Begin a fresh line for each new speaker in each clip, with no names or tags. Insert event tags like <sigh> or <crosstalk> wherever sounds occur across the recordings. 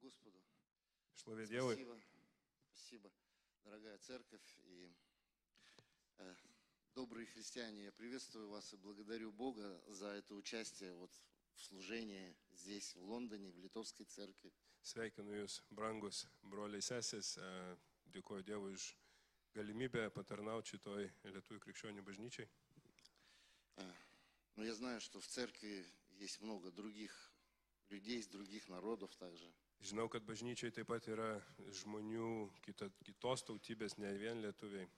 Господу.
Слове делай.
Спасибо. Спасибо, дорогая церковь и э, добрые христиане. Я приветствую вас и благодарю Бога за это участие вот в служении здесь, в Лондоне, в Литовской церкви.
Sveikinu Jūs, brangus broliai sesės. E, Dėkuoju Dievui už galimybę patarnauti šitoj Lietuvų krikščionių bažnyčiai.
Но я знаю, что в церкви есть много других людей из других народов также.
Žinau, kad bažnyčiai taip pat yra žmonių kita, kitos tautybės, ne vien lietuviai.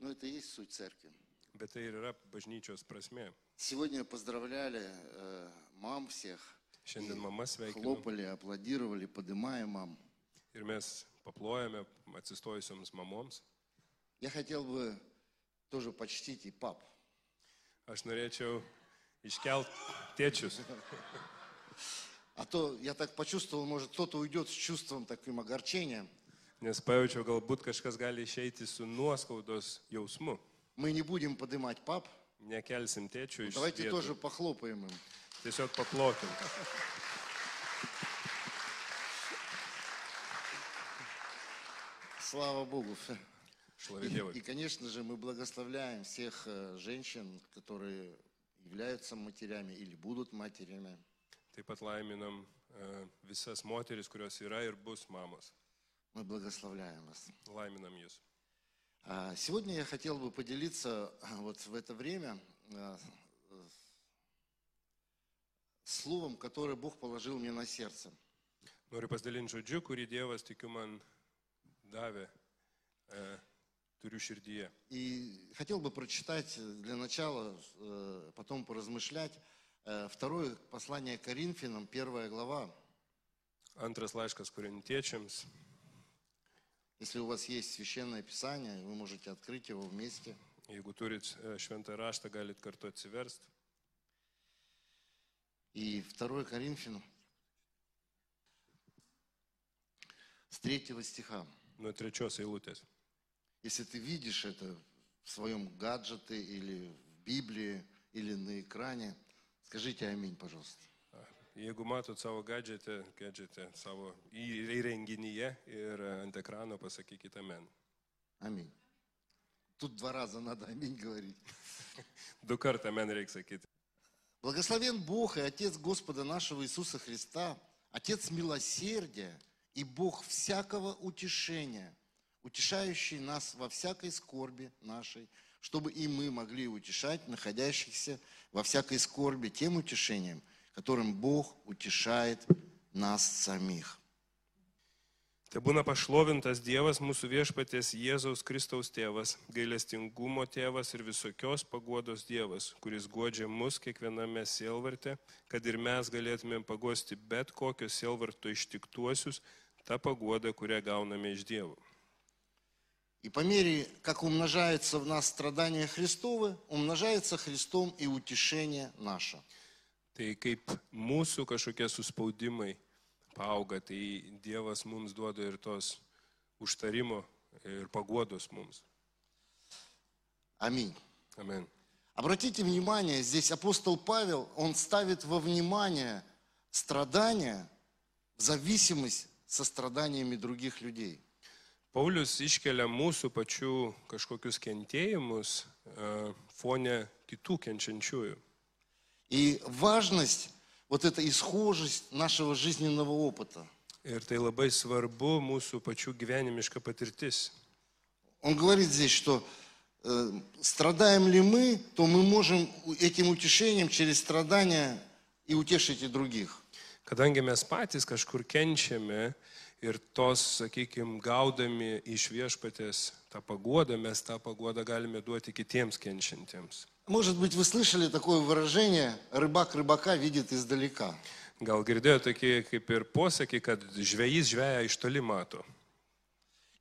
Но это и есть суть церкви.
Bet tai ir yra bažnyčios prasme.
Сегодня поздравляли э, мам всех,
Šiandien mama sveikinu
хлопали, аплодировали, подымая мам.
ir mes paplojame atsistojusioms mamoms.
Я хотел бы тоже почтить и пап.
Aš norėčiau iškelt tėčius.
А то я так почувствовал, может, кто-то уйдет с чувством таким огорчением.
Nes pajaučiau, galbūt kažkas gali išeiti su nuoskaudos jausmu.
Мы не будем поднимать пап.
Nekelsim tėčių iš
Nu, Давайте
vietų.
тоже похлопаем им.
Tiesiog paplokim.
Слава Богу.
Šlovė
И, и,
Dievui.
конечно же, мы благословляем всех э, женщин, которые являются матерями или будут матерями.
<laughs> Taip pat laiminam e, visas moteris, kurios yra ir bus mamos.
Мы благословляем вас.
Laiminam jūs.
А, Сегодня я хотел бы поделиться а, вот в это время а, э, словом, которое Бог положил мне на сердце.
Noriu pasidalinti žodžiu, kurį Dievas, tikiu, man davė. E, turiu širdyje.
И хотел бы прочитать э, для начала, э, потом поразмышлять. э, Второе послание Коринфянам, первая глава.
Antras laiškas korintiečiams.
Если у вас есть священное писание, вы можете открыть его вместе.
Jeigu turit e, šventą raštą, galit kartu atsiversti.
И 2 Коринфянам с третьего стиха.
Nuo trečios eilutės.
Если ты видишь это в своем гаджете или в Библии, или на экране, скажите аминь, пожалуйста.
Jeigu matot savo gadžetę, gadžetę savo į- įrenginyje ir e, ant ekrano pasakykite men.
Аминь. Тут два раза надо аминь говорить.
Du kartą men reikia sakyti.
Благословен Бог и Отец Господа нашего Иисуса Христа, Отец милосердия и Бог всякого утешения, утешающий нас во всякой скорби нашей, чтобы и мы могли утешать находящихся во всякой скорби тем утешением, которым Бог утешает нас самих.
Te būna pašlovintas Dievas mūsų viešpatės Jėzaus Kristaus tėvas, gailestingumo tėvas ir visokios paguodos Dievas, kuris godžia mus kiekviename sielvarte, kad ir mes galėtumėm pagosti bet kokio sielvarto ištiktuosius tą paguodą, kurią gauname iš Dievo.
И по мере, как умножается в нас страдания Христовы, умножается Христом и утешение наше.
Tai kaip mūsų kažkokie suspaudimai auga, tai Dievas mums duoda ir tos užtarimo ir paguodos mums.
Аминь.
Amen.
Обратите внимание, здесь апостол Павел, он ставит во внимание страдания в зависимость со страданиями других людей.
Paulius iškelia mūsų pačių kažkokius kentėjimus e, fone kitų kenčiančiųjų.
И важность, вот эта исхожесть нашего жизненного опыта.
Ir tai labai svarbu mūsų pačių gyvenimiška patirtis.
Он говорит здесь, что э, страдаем ли мы, то мы можем у- этим утешением через страдания и утешить и других.
Kadangi mes patys kažkur kenčiame ir tos, sakykime, gaudami iš viešpatės tą paguodą, mes tą paguodą galime duoti kitiems kenčiantiems.
Может быть, вы слышали такое выражение «рыбак рыбака видит издалека».
Gal girdėjote tokį kaip ir posakį, kad žvėjys žvėja iš toli mato.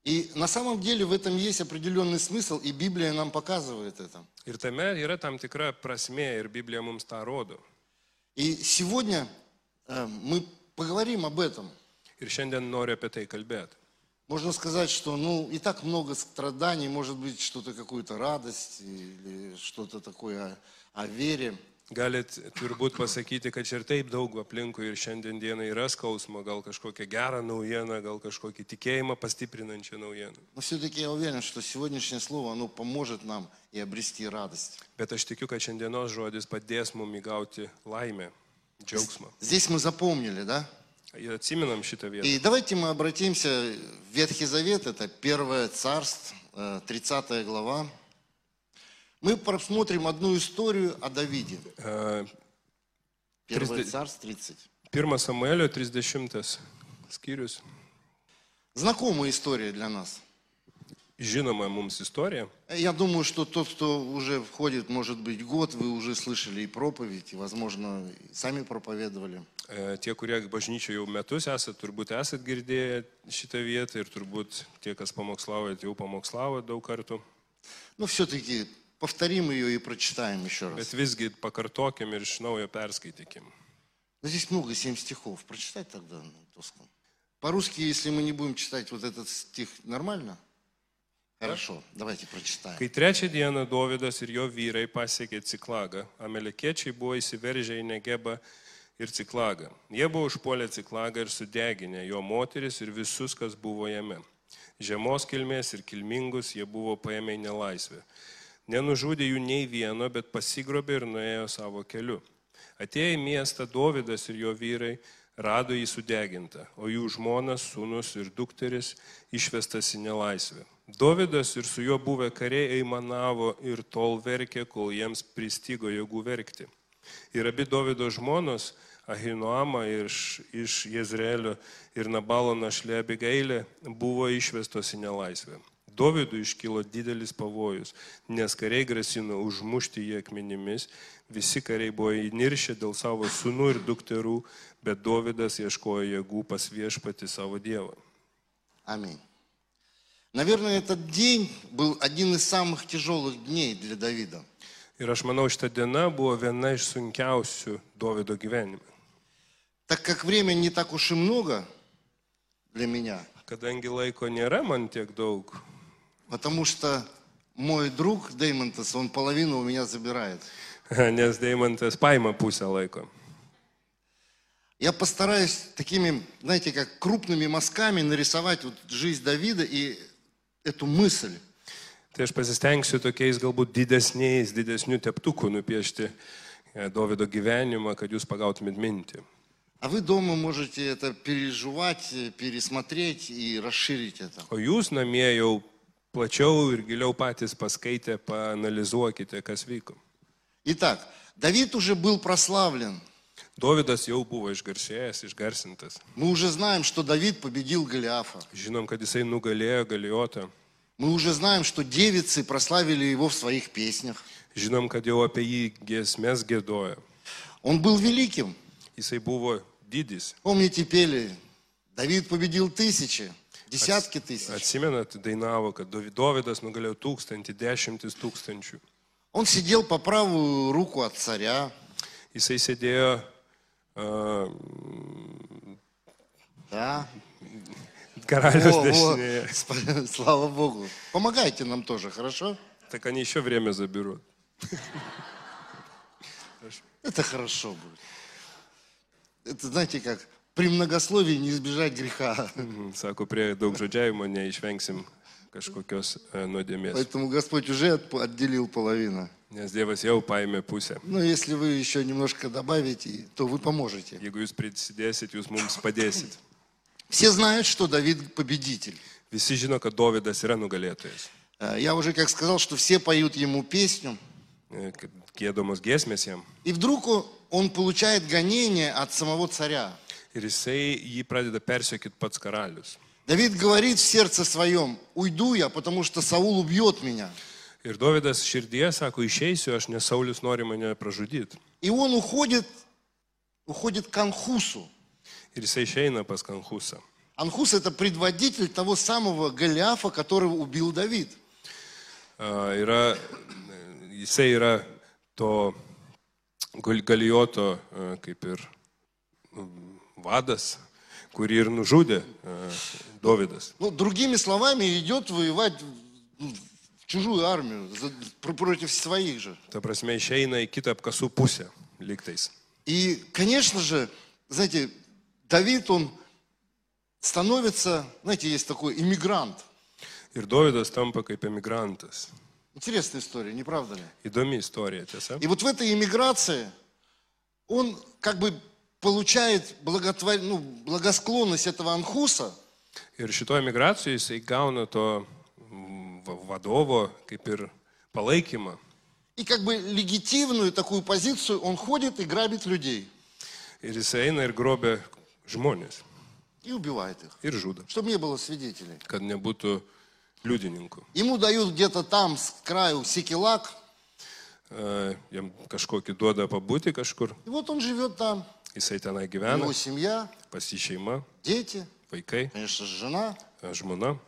И на самом деле в этом есть определенный смысл, и Библия нам показывает это.
Ir tame yra tam tikra prasme ir Biblija mums tą rodo.
И сегодня э, мы поговорим об этом.
Ir šiandien noriu apie tai kalbėti.
Можно сказать, что ну и так много страданий, может быть, что-то какую-то радость или что-то такое о, о вере.
Galit turbūt pasakyti, kad čia ir taip daug aplinkui ir šiandien dienai yra skausmo, gal kažkokią gerą naujieną, gal kažkokį tikėjimą pastiprinančią naujieną.
Но все-таки я уверен, что сегодняшнее слово, оно поможет нам и обрести радость.
Bet aš tikiu, kad šiandienos žodis padės mum įgauti laimę, džiaugsmą.
Здесь мы запомнили, да?
Ir atsiminam šitą vietą.
И давайте мы обратимся в Ветхий Завет, это первое царство, э, 30 глава. Мы просмотрим одну историю о Давиде.
E,
Первое
30.
царство, 30.
1 Samuelio 30 skyrius.
Знакомая история для нас.
Žinoma mums istorija.
Я думаю, что тот, кто уже входит, может быть, год, вы уже слышали и проповедь, и, возможно, и сами проповедовали.
E, Tie, kurie bažnyčioje jau metus esat, turbūt esat girdėję šitą vietą ir turbūt tie, kas pamokslaujat, jau pamokslavo daug kartų.
Но все-таки повторим ее и прочитаем еще раз.
Bet visgi pakartokim ir iš naujo perskaitykim.
Но здесь много, семь стихов. Прочитать тогда на русском. По-русски, если мы не будем читать вот этот стих, нормально? Хорошо, давайте прочитаем.
Kai trečią dieną Dovydas ir jo vyrai pasiekė Ciklagą, amelekiečiai buvo įsiveržę į Negebą ir Ciklagą. Jie buvo užpuolę Ciklagą ir sudeginę jo moteris ir visus, kas buvo jame. Žemos kilmės ir kilmingus jie buvo paėmę į nelaisvę. Nenužudė jų nei vieno, bet pasigrobė ir nuėjo savo keliu. Atėję į miestą Dovydas ir jo vyrai rado jį sudegintą, o jų žmonas, sūnus ir dukteris išvestas į nelaisvę. Dovydas ir su juo buvę kariai eimanavo ir tol verkė, kol jiems pristigo jėgų verkti. Ir abi Dovido žmonos, Ahinoama iš, iš Jezreelio ir Nabalo našlė Abigailė, buvo išvestos į nelaisvę. Dovidui iškilo didelis pavojus, nes kariai grasino užmušti jį akmenimis, visi kariai buvo įniršę dėl savo sunų ir dukterų, bet Dovidas ieškojo jėgų pas viešpati savo dievą.
Аминь. Наверное, этот день был один из самых тяжелых дней для Давида.
Ir aš manau, šita diena buvo viena iš sunkiausių Dovido gyvenime.
Так как времени не так уж и много для меня,
Kadangi laiko nėra man tiek daug, <laughs>
потому что мой друг Деймонтес, он половину у меня забирает.
nes Deimantas paima pusę laiko.
Я постараюсь такими, знаете, как крупными мазками нарисовать вот жизнь Давида и эту мысль.
Tai aš pasistengsiu tokiais galbūt didesniais, didesnių teptukų nupiešti e, Dovido gyvenimą, kad jūs pagautumėt mintį.
А вы дома можете это переживать, э, пересмотреть и расширить это.
O jūs namie jau plačiau ir giliau patys paskaitę, paanalizuokite, kas vyko.
Итак, Давид уже был прославлен.
Dovidas jau buvo išgarsėjęs, išgarsintas.
Мы уже знаем, что Давид победил Голиафа.
Žinom, kad jisai nugalėjo Galiotą.
Мы уже знаем, что девицы прославили его в своих песнях.
Žinom, kad jau apie jį giesmės gėdojo.
Он был великим.
Jisai buvo didis.
Помните, пели, Давид победил тысячи, десятки тысяч.
Atsimenat, dainavo, kad Dovi- Dovydas nugalėjo tūkstantį, dešimtis tūkstančių.
Он сидел по правую руку от царя.
Jisai sėdėjo uh,
Да.
karalius
Во, во.
dešinėje.
Сп- <laughs> Слава Богу. Помогайте нам тоже, хорошо?
Так они еще время заберут.
Это хорошо будет. Это знаете как, при многословии не избежать греха.
Mhm, Sako, prie daug žodžiavimo neišvengsim kažkokios e, nuodėmės.
Поэтому Господь уже отп- отделил половину.
Nes Dievas jau paėmė pusę.
Но если вы еще немножко добавите, то вы поможете.
Jeigu jūs prisidėsit, jūs mums padėsit.
Все знают, что Давид победитель.
Visi žino, kad Dovydas yra nugalėtojas.
Э, Я уже как сказал, что все поют ему песню.
E, kad Gėdomos giesmės jam.
И вдруг о- он получает гонение от самого царя.
Ir jisai jį pradeda persiekit pats karalius.
Давид говорит в сердце своем, уйду я, потому что Саул убьет меня.
Ir Dovydas širdyje sako, išeisiu, aš nes Saulis nori mane pražudyti.
И он уходит, уходит к Анхусу.
Ir jisai išeina pas Kanhusą.
Анхус это предводитель того самого Голиафа, которого убил Давид.
A, yra, jisai yra to Gal- galijoto a, kaip ir mm, vadas, kurį ir nužudė a, Dovydas.
Ну, другими словами, идет воевать ну, в чужую армию за- пр- против своих же.
Ta prasme, išeina į kitą apkasų pusę. liktais.
И, конечно же, знаете, Давид, он становится, знаете, есть такой иммигрант.
Ir Dovydas tampa kaip emigrantas.
Интересная история, не правда ли?
Įdomi istorija, tiesa.
И вот в этой иммиграции он как бы получает благотвор... ну, благосклонность этого Анхуса,
Ir šitoje emigracijoje jisai gauna to mm, va- vadovo kaip ir palaikymą.
и как бы легитимную такую позицию он ходит и грабит людей
Ir jisai eina ir grobia žmonės.
и убивает их,
Ir žudo,
чтобы не было свидетелей.
kad nebūtų liudininkų.
Ему дают где-то там с краю секелак,
E, Jam kažkokį duoda pabūti kažkur.
и вот он живет там,
Jisai tenai
его
gyvena,
семья,
pas jį šeima,
дети,
vaikai,
конечно, же, жена.
e, žmona.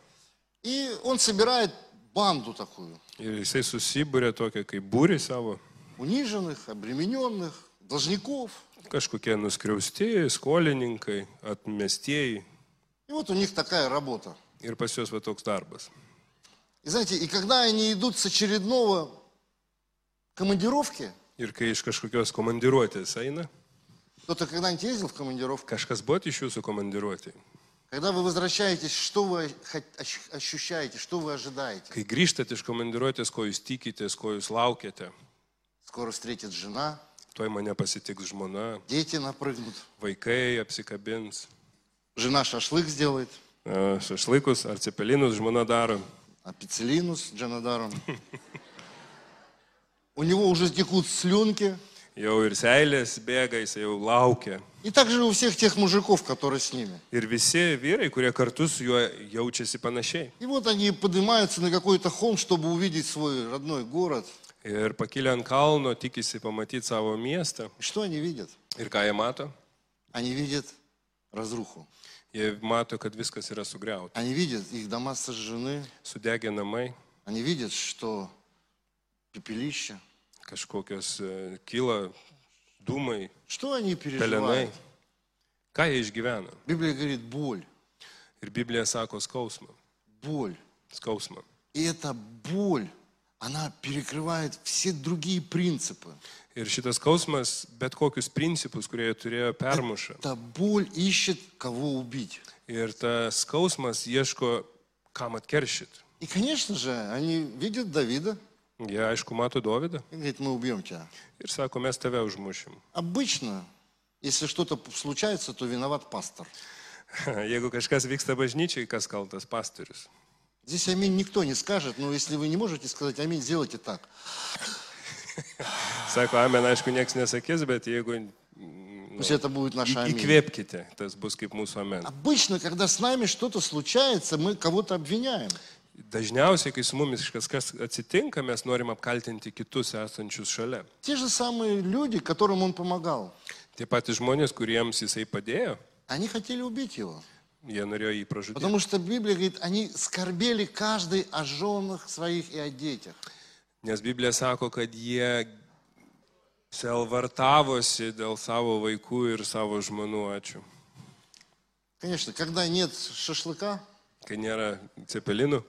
И он собирает банду такую,
Ir jisai susibūrė tokią kaip būrį savo.
униженных, обремененных, должников.
Kažkokie nuskriaustieji, skolininkai, atmestieji.
И вот у них такая работа.
Ir pas juos va toks darbas.
И знаете, и когда они идут с очередного командировки,
Ir kai iš kažkokios komandiruotės eina,
кто-то когда-нибудь ездил в командировку,
kažkas buvo iš jūsų komandiruotėje.
когда вы возвращаетесь, что вы хо- ощ- ощущаете, что вы ожидаете?
Kai grįžtate iš komandiruotės, ko jūs tikitės, ko jūs laukiate,
Скоро встретит жена,
toj mane pasitiks žmona,
дети напрыгнут,
vaikai apsikabins,
жена шашлык сделает,
e, šašlaikus ar cepelinus žmona daro.
апицелину а с Джанадаром. У него уже текут слюнки.
Jau ir seilės bėga, jis jau laukia.
И также у всех тех мужиков, которые с ними.
Ir visi vyrai, kurie kartu su juo jaučiasi panašiai.
И вот они поднимаются на какой-то холм, чтобы увидеть свой родной город.
Ir pakilę ant kalno tikisi pamatyti savo miestą.
И что они видят?
Ir ką jie mato?
Они видят разруху.
Jie mato, kad viskas yra sugriauta.
Они vidят, их дома сожжены.
Sudegė namai,
Они видят, что пепелище.
kažkokios e, kyla dūmai,
Что они
pelenai.
переживают?
Ką jie išgyvena?
Библия говорит боль,
Ir Biblija sako skausmą.
боль.
Skausmą.
И эта боль, она перекрывает все другие принципы.
Ir šitas skausmas bet kokius principus, kurie jie turėjo permuša.
Эта боль ищет, кого убить.
Ir tas skausmas ieško, kam atkeršyti.
И, конечно же, они видят Давида
Jie aišku mato Dovydą
и говорят, мы убьем тебя.
ir sako, mes tave užmušim. <laughs>
Обычно, если что-то п- случается, то виноват пастор.
Jeigu kažkas vyksta bažnyčiai, kas kaltas pastorius.
Здесь аминь никто не скажет, но если вы не можете сказать аминь, сделайте так.
Sako, amen, aišku, nieks nesakys, bet jeigu mm,
Пусть это будет
į-
наша аминь.
įkvėpkite, tas bus kaip mūsų amen.
Обычно, когда с нами что-то случается, мы кого-то обвиняем.
Dažniausiai, kai su mumis kažkas atsitinka, mes norim apkaltinti kitus esančius šalia.
Те же самые люди, которым он помогал,
Tie patys žmonės, kuriems jisai padėjo,
они хотели убить его.
jie norėjo jį pražudyti.
Потому что Библия говорит, они скорбели каждый о женах своих и о детях.
Nes Biblija sako, kad jie selvartavosi dėl savo vaikų ir savo žmonų. Ačiū.
Конечно, когда нет шашлыка,
Kai nėra cepelinų,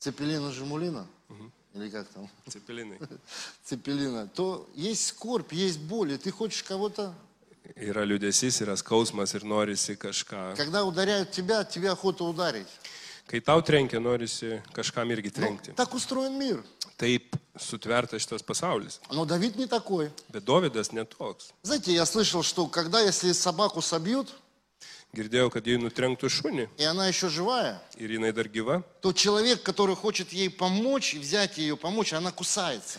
цепелина жемулина, или как там, <laughs>
cepelinai.
цепелина, то есть скорбь, есть боль, и ты хочешь кого-то...
Yra liudesys, yra skausmas ir norisi kažką.
Когда ударяют тебя, тебе охота ударить.
Kai tau trenkia, norisi kažkam irgi
Ну,
trenkti.
так устроен мир.
Taip sutvertas šitas pasaulis.
Но Давид не такой.
Bet Dovydas netoks.
Знаете, я слышал, что когда, если собаку собьют,
Girdėjau, kad jei nutrenktų šunį
и она еще живая,
ir jinai dar gyva,
то человек, который хочет ей помочь, и взять ее помочь, она кусается.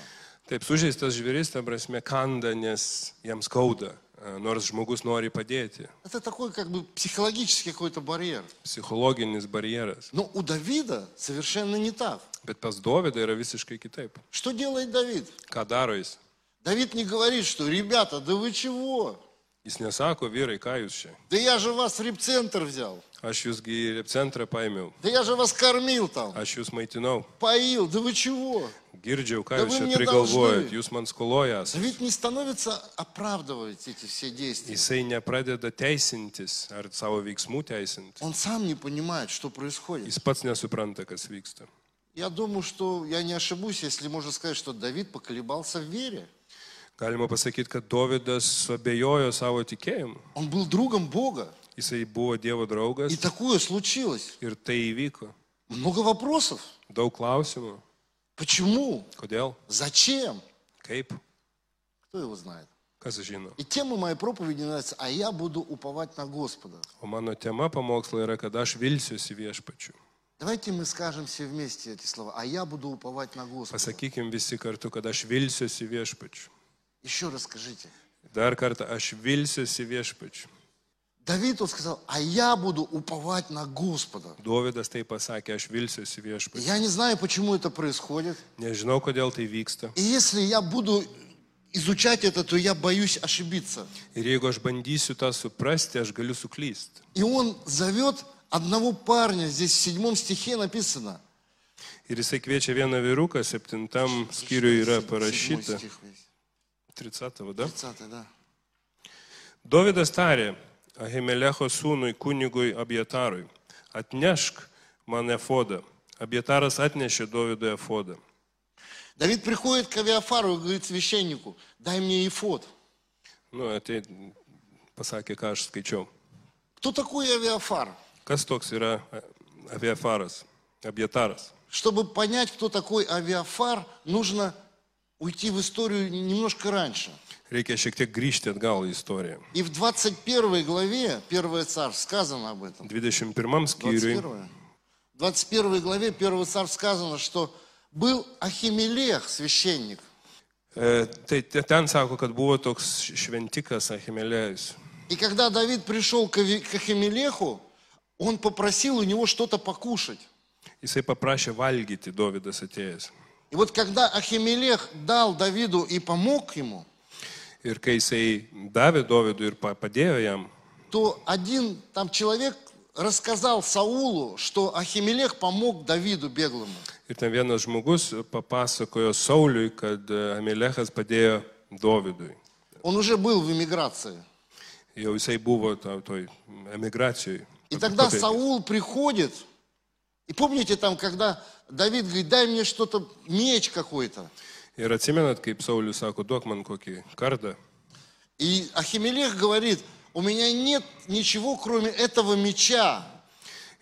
taip sužeistas žvėris, ta prasme, kanda, nes jam skauda, e, nors žmogus nori padėti.
Это такой как бы психологический какой-то барьер.
Psichologinis barjeras.
Но у Давида совершенно не так.
Bet pas Dovydą yra visiškai kitaip.
Что делает Давид?
Ką daro jis?
Давид не говорит, что «Ребята, да вы чего?
Jis nesako, vyrai, ką jūs čia?
Да я же вас в репцентр взял.
Aš jūsgi į centrą paėmiau,
Да я же вас кормил там,
aš jūs maitinau,
поил. Да вы чего?»
girdžiau, ką
Da
jūs
vy
čia
mne
prigalvojat,
dolžni.
jūs man skolojas.
Давид не становится оправдывать эти все действия.
Jisai nepradeda teisintis ar savo veiksmų teisinti.
Он сам не понимает, что происходит.
Jis pats nesupranta, kas vyksta.
Я думаю, что я не ошибусь, если можно сказать, что Давид поколебался в вере.
Galima pasakyti, kad Dovydas abejojo savo tikėjimu.
Он был другом Бога.
Jisai buvo Dievo draugas
И такое случилось.
ir tai įvyko.
Много вопросов.
Daug klausimų.
Почему?
Kodėl?
Зачем?
Kaip?
Кто его знает?
Kas žino?
И тема моей проповеди называется «А я буду уповать на Господа».
O mano tema pamokslo yra, kad aš vilsiuosi viešpačiu.
Давайте мы скажем все вместе эти слова. «А я буду уповать на Господа».
Pasakykim visi kartu, kad aš vilsiuosi viešpačiu.
Еще раз скажите.
Dar kartą, aš vilsiuosi viešpačiu.
Давид он сказал, а я буду уповать на Господа.
Dovydas tai pasakė, aš vilsiuosi viešpačiu.
Я не знаю, почему это происходит.
Nežinau, kodėl tai vyksta.
И если я буду изучать это, то я боюсь ошибиться.
Ir jeigu aš bandysiu tą suprasti, aš galiu suklysti.
И он зовет одного парня, здесь в седьмом стихе написано.
Ir jisai kviečia vieną vyruką, septintam skyriui yra parašyta.
Седьмой стих весь.
30, da?
30, да.
Dovydas tarė Ahimelecho sūnui kunigui Abietarui, atnešk man efodą. Abietaras atnešė Dovydui efodą.
Давид приходит к Авиафару и говорит священнику, дай мне ифот.
Nu, atei, pasakė, ką aš skaičiau.
Кто такой Авиафар?
Kas toks yra Abiefaras? Abietaras.
Чтобы понять, кто такой Авиафар, нужно уйти в историю немножко раньше.
Reikia šiek tiek grįžti atgal į istoriją.
И в 21 главе, 1 царств, сказано об этом.
21 skyriui,
21, 21 главе 1 царств сказано, что был Ахимелех, священник.
e, tai te- ten sako, kad buvo toks šventikas Ahimelėjus.
И когда Давид пришел к Ави- к Ахимелеху, он попросил у него что-то покушать.
Jisai paprašė valgyti Dovydas atėjęs.
И вот когда Ахимелех дал Давиду и помог ему,
Ir kai jisai davė Dovydui ir pa- padėjo jam,
то один там человек рассказал Саулу, что Ахимелех помог Давиду беглому.
Ir ten vienas žmogus papasakojo Sauliui, kad Amelechas padėjo Dovydui.
Он уже был в эмиграции.
Jau jisai buvo ta- toj emigracijoj.
И тогда
Pabėgęs.
Саул приходит, и помните там, когда Давид говорит, дай мне что-то, меч какой-то.
Ir atsimenat, kaip Saulis sako, duok man kokį kardą.
И Ахимелех говорит, у меня нет ничего, кроме этого меча,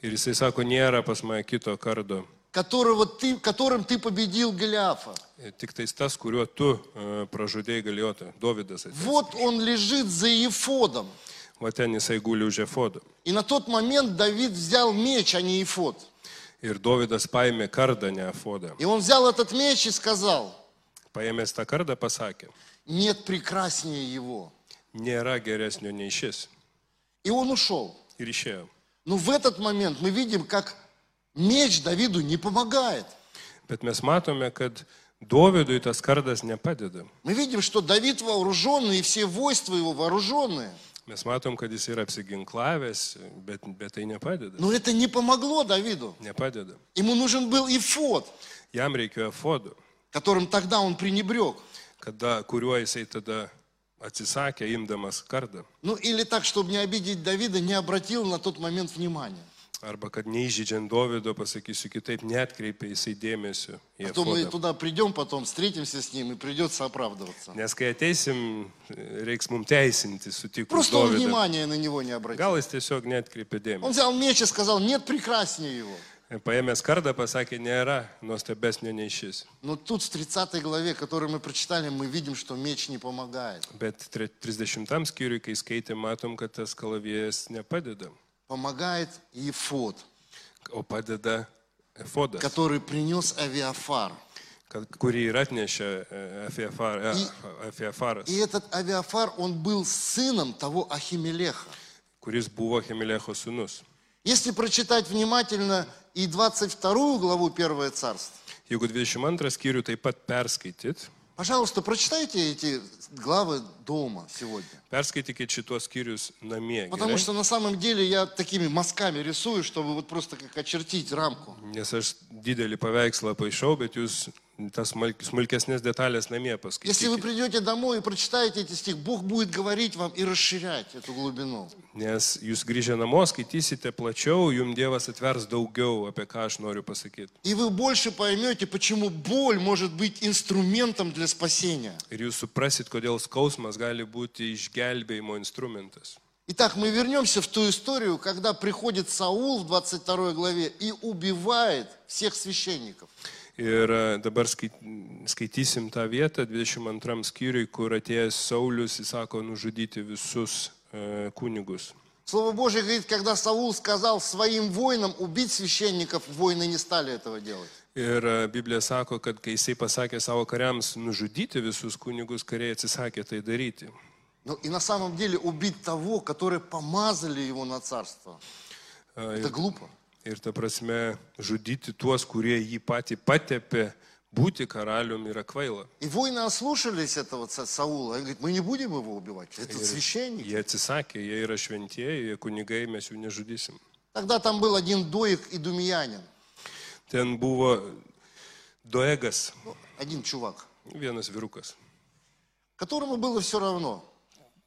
Ir jisai sako, nėra pas mane kito kardo.
которого ты, которым ты победил Голиафа.
E, Tik tais tas, kuriuo tu e, pražudėjai galiotą, Dovydas. atėjo.
Вот он lежит за Ефодом.
Va ten jisai guli už efodo.
И на тот момент Давид взял меч, а не Ефод.
Ir Dovydas paėmė kardą, ne efodą.
И он взял этот меч и сказал,
Paėmęs tą kardą pasakė,
нет прекраснее его.
nėra geresnio nei šis.
И он ушел.
Ir išėjo.
Но в этот момент мы видим, как меч Давиду не помогает.
Bet mes matome, kad Dovydui tas kardas nepadeda.
Мы видим, что Давид вооруженный, и все войства его вооруженные.
Mes matom, kad jis yra apsiginklavęs, bet, bet tai nepadeda.
Но это не помогло Давиду.
Nepadeda.
Ему нужен был ифот,
Jam reikėjo fodų,
которым тогда он пренебрег.
kada, kuriuo jisai tada atsisakė, imdamas kardą.
Ну или так, чтобы не обидеть Давида, не обратил на тот момент внимания.
Arba kad neįžydžiant Dovydo, pasakysiu kitaip, netkreipė jisai dėmesio į
А то мы
fodą.
туда придем потом, встретимся с ним и придется оправдываться.
Nes kai ateisim, reiks mums teisinti sutikus
Просто он
Dovydą.
внимания на него не обратил.
Gal jis tiesiog netkreipė
Он
dėmesio.
взял меч и сказал, нет прекраснее его.
Paėmęs kardą pasakė, nėra nuostabesnio nei šis.
Но тут в 30 главе, которую мы прочитали, мы видим, что меч не помогает.
Bet tre- 30 skyriui, kai skaitė, matom, kad tas kalavijas nepadeda,
Помогает ифот,
o padeda efodas,
который принес Авиафар.
kad, kurį ir atnešė e, Efiafar- e, Efiafaras,
И этот Авиафар, он был сыном того Ахимелеха.
kuris buvo Hemilecho sūnus.
Если прочитать внимательно и 22 главу Первое Царство,
Jeigu 22 skyrių taip pat perskaityt,
пожалуйста, прочитайте эти главы дома сегодня.
perskaitykit šitos skyrius namie.
Потому
gerai?
что на самом деле я такими мазками рисую, чтобы вот просто как очертить рамку.
Nes aš didelį paveikslą paaišau, bet jūs tas smulk- smulkesnės detalės namie
Если вы
paskaityti.
придете домой и прочитаете эти стих, Бог будет говорить вам и расширять эту глубину.
Nes jūs grįžę namo skaitysite plačiau, jums Dievas atvers daugiau, apie ką aš noriu pasakyti.
И вы больше поймете, почему боль может быть инструментом для спасения.
Ir jūs suprasit, kodėl skausmas gali būti išgelbėjimo instrumentas.
Итак, мы вернемся в ту историю, когда приходит Саул в 22 главе и убивает всех священников.
Ir e, dabar skait- skaitysim tą vietą 22 skyriui, kur atėjęs Saulis įsako nužudyti visus e, kunigus.
Слово Божье говорит, когда Саул сказал своим воинам убить священников, воины не стали этого делать.
Ir e, Biblija sako, kad kai jisai pasakė savo kariams nužudyti visus kunigus, kariai atsisakė tai daryti.
Ну, и на самом деле убить того, которые помазали его на царство.
А,
Это глупо.
E, Ir ta prasme, žudyti tuos, kurie jį patį patepė, būti karaliumi yra kvaila.
И воины ослушались этого ца- Саула. Они говорят, мы не будем его убивать. Это священник.
Jie atsisakė, jie yra šventieji, jie kunigai, mes jų nežudysim.
Тогда там был один доик и думиянин.
Ten buvo Doegas,
Ну, один чувак,
vienas virukas,
которому было все равно.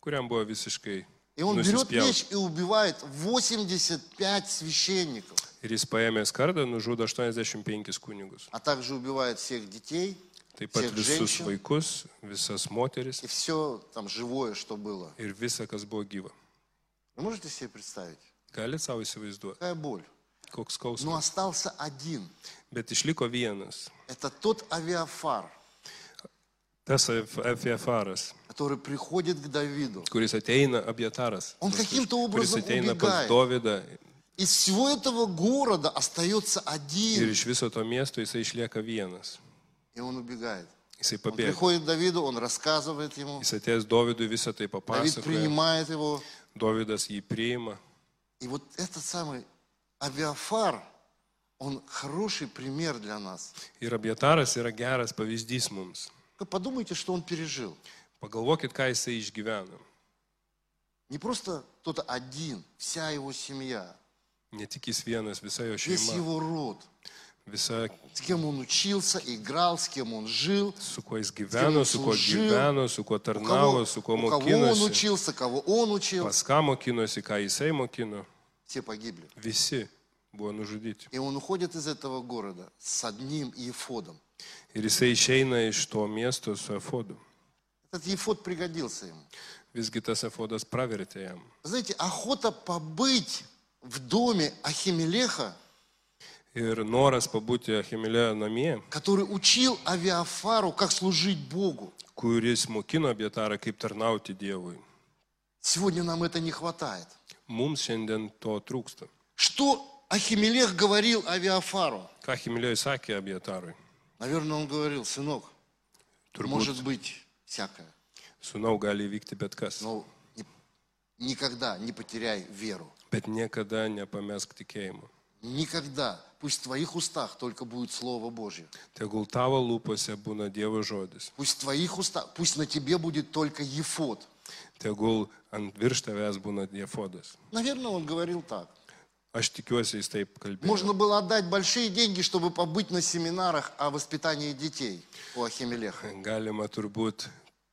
kuriam buvo visiškai
И он берет
nusispjauti.
меч и убивает 85 священников,
Ir jis paėmė skardą, nužudo 85 kunigus.
а также убивает всех детей,
Taip pat
всех
visus
женщин
vaikus, visas moteris
и все там живое, что было.
ir visa, kas buvo gyva.
Вы можете себе представить?
Galit savo įsivaizduoti,
Какая боль.
koks
Но
skausmas.
остался один.
Bet išliko vienas.
Это тот авиафар,
Tas Efefaras.
который приходит к Давиду.
kuris ateina Abjataras.
Он каким-то
Kuris
образом
ateina
убегает.
pas Dovydą
Из всего этого города остается
ir
один.
iš viso to miesto jisai išlieka vienas.
И он убегает.
Jisai
Он
pabėga.
приходит к Давиду, он рассказывает ему.
Jis atėjęs Dovydui visą tai
Давид
papasakoja.
принимает его.
Dovydas jį priima.
И вот этот самый авиафар, он хороший пример для нас.
Ir Abjataras yra geras pavyzdys mums.
Вы подумайте, что он пережил.
Pagalvokit, ką jisai išgyveno.
Не просто кто-то один, вся его семья,
Ne tik jis vienas, visa jo
весь
šeima,
его род,
visa
с кем он учился, играл, с кем он жил,
su kuo jis gyveno, su kuo
служил,
gyveno, su kuo
у кого,
tarnavo, su kuo
у кого он
mokinosi,
учился, кого он учил.
pas ką mokinosi, ką jisai mokino.
Все погибли.
Visi buvo nužudyti.
И он уходит из этого города с одним ефодом.
Ir jisai išeina iš to miesto su efodu.
Этот ефод пригодился ему.
Visgi tas efodas pravertė jam.
Знаете, охота побыть в доме Ахимелеха,
Ir noras pabūti Achimilėjo namie,
который учил Авиафару, как служить Богу.
kuris mokino Bietarą kaip tarnauti Dievui.
Сегодня нам это не хватает.
Mums šiandien to trūksta.
Что Ахимелех говорил Авиафару?
Ką Achimilėjus sakė Abietarui?
Наверное, он говорил, сынок,
Turbūt,
может быть всякое,
sunau, gali įvykti bet kas,
но ни- никогда не потеряй веру.
bet niekada nepamesk tikėjimo.
Никогда. Пусть в твоих устах только будет Слово Божье.
Tegul tavo lūpose būna Dievo žodis.
Пусть в твоих устах, пусть на тебе будет только Ефот.
Tegul ant virš tavęs būna Dievodas.
Наверное, он говорил так.
Aš tikiuosi, jis taip kalbėjo.
Можно было отдать большие деньги, чтобы побыть на семинарах о воспитании детей у Ахимелеха.
Galima turbūt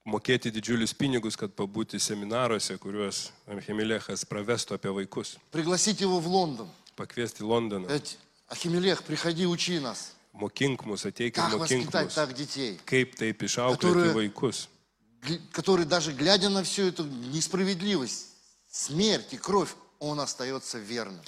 mokėti didžiulius pinigus, kad pabūti seminaruose, kuriuos Achimilėchas pravestų apie vaikus.
Пригласить его в Лондон.
Pakviesti į Londoną.
Сказать, Ахимелех, приходи, учи нас.
Mokink mus, ateik
Как
ir mokink
воспитать
mus.
так детей,
Kaip taip
Которые-
išauklėti vaikus,
гл- которые даже глядя на всю эту несправедливость, смерть и кровь, он остается верным.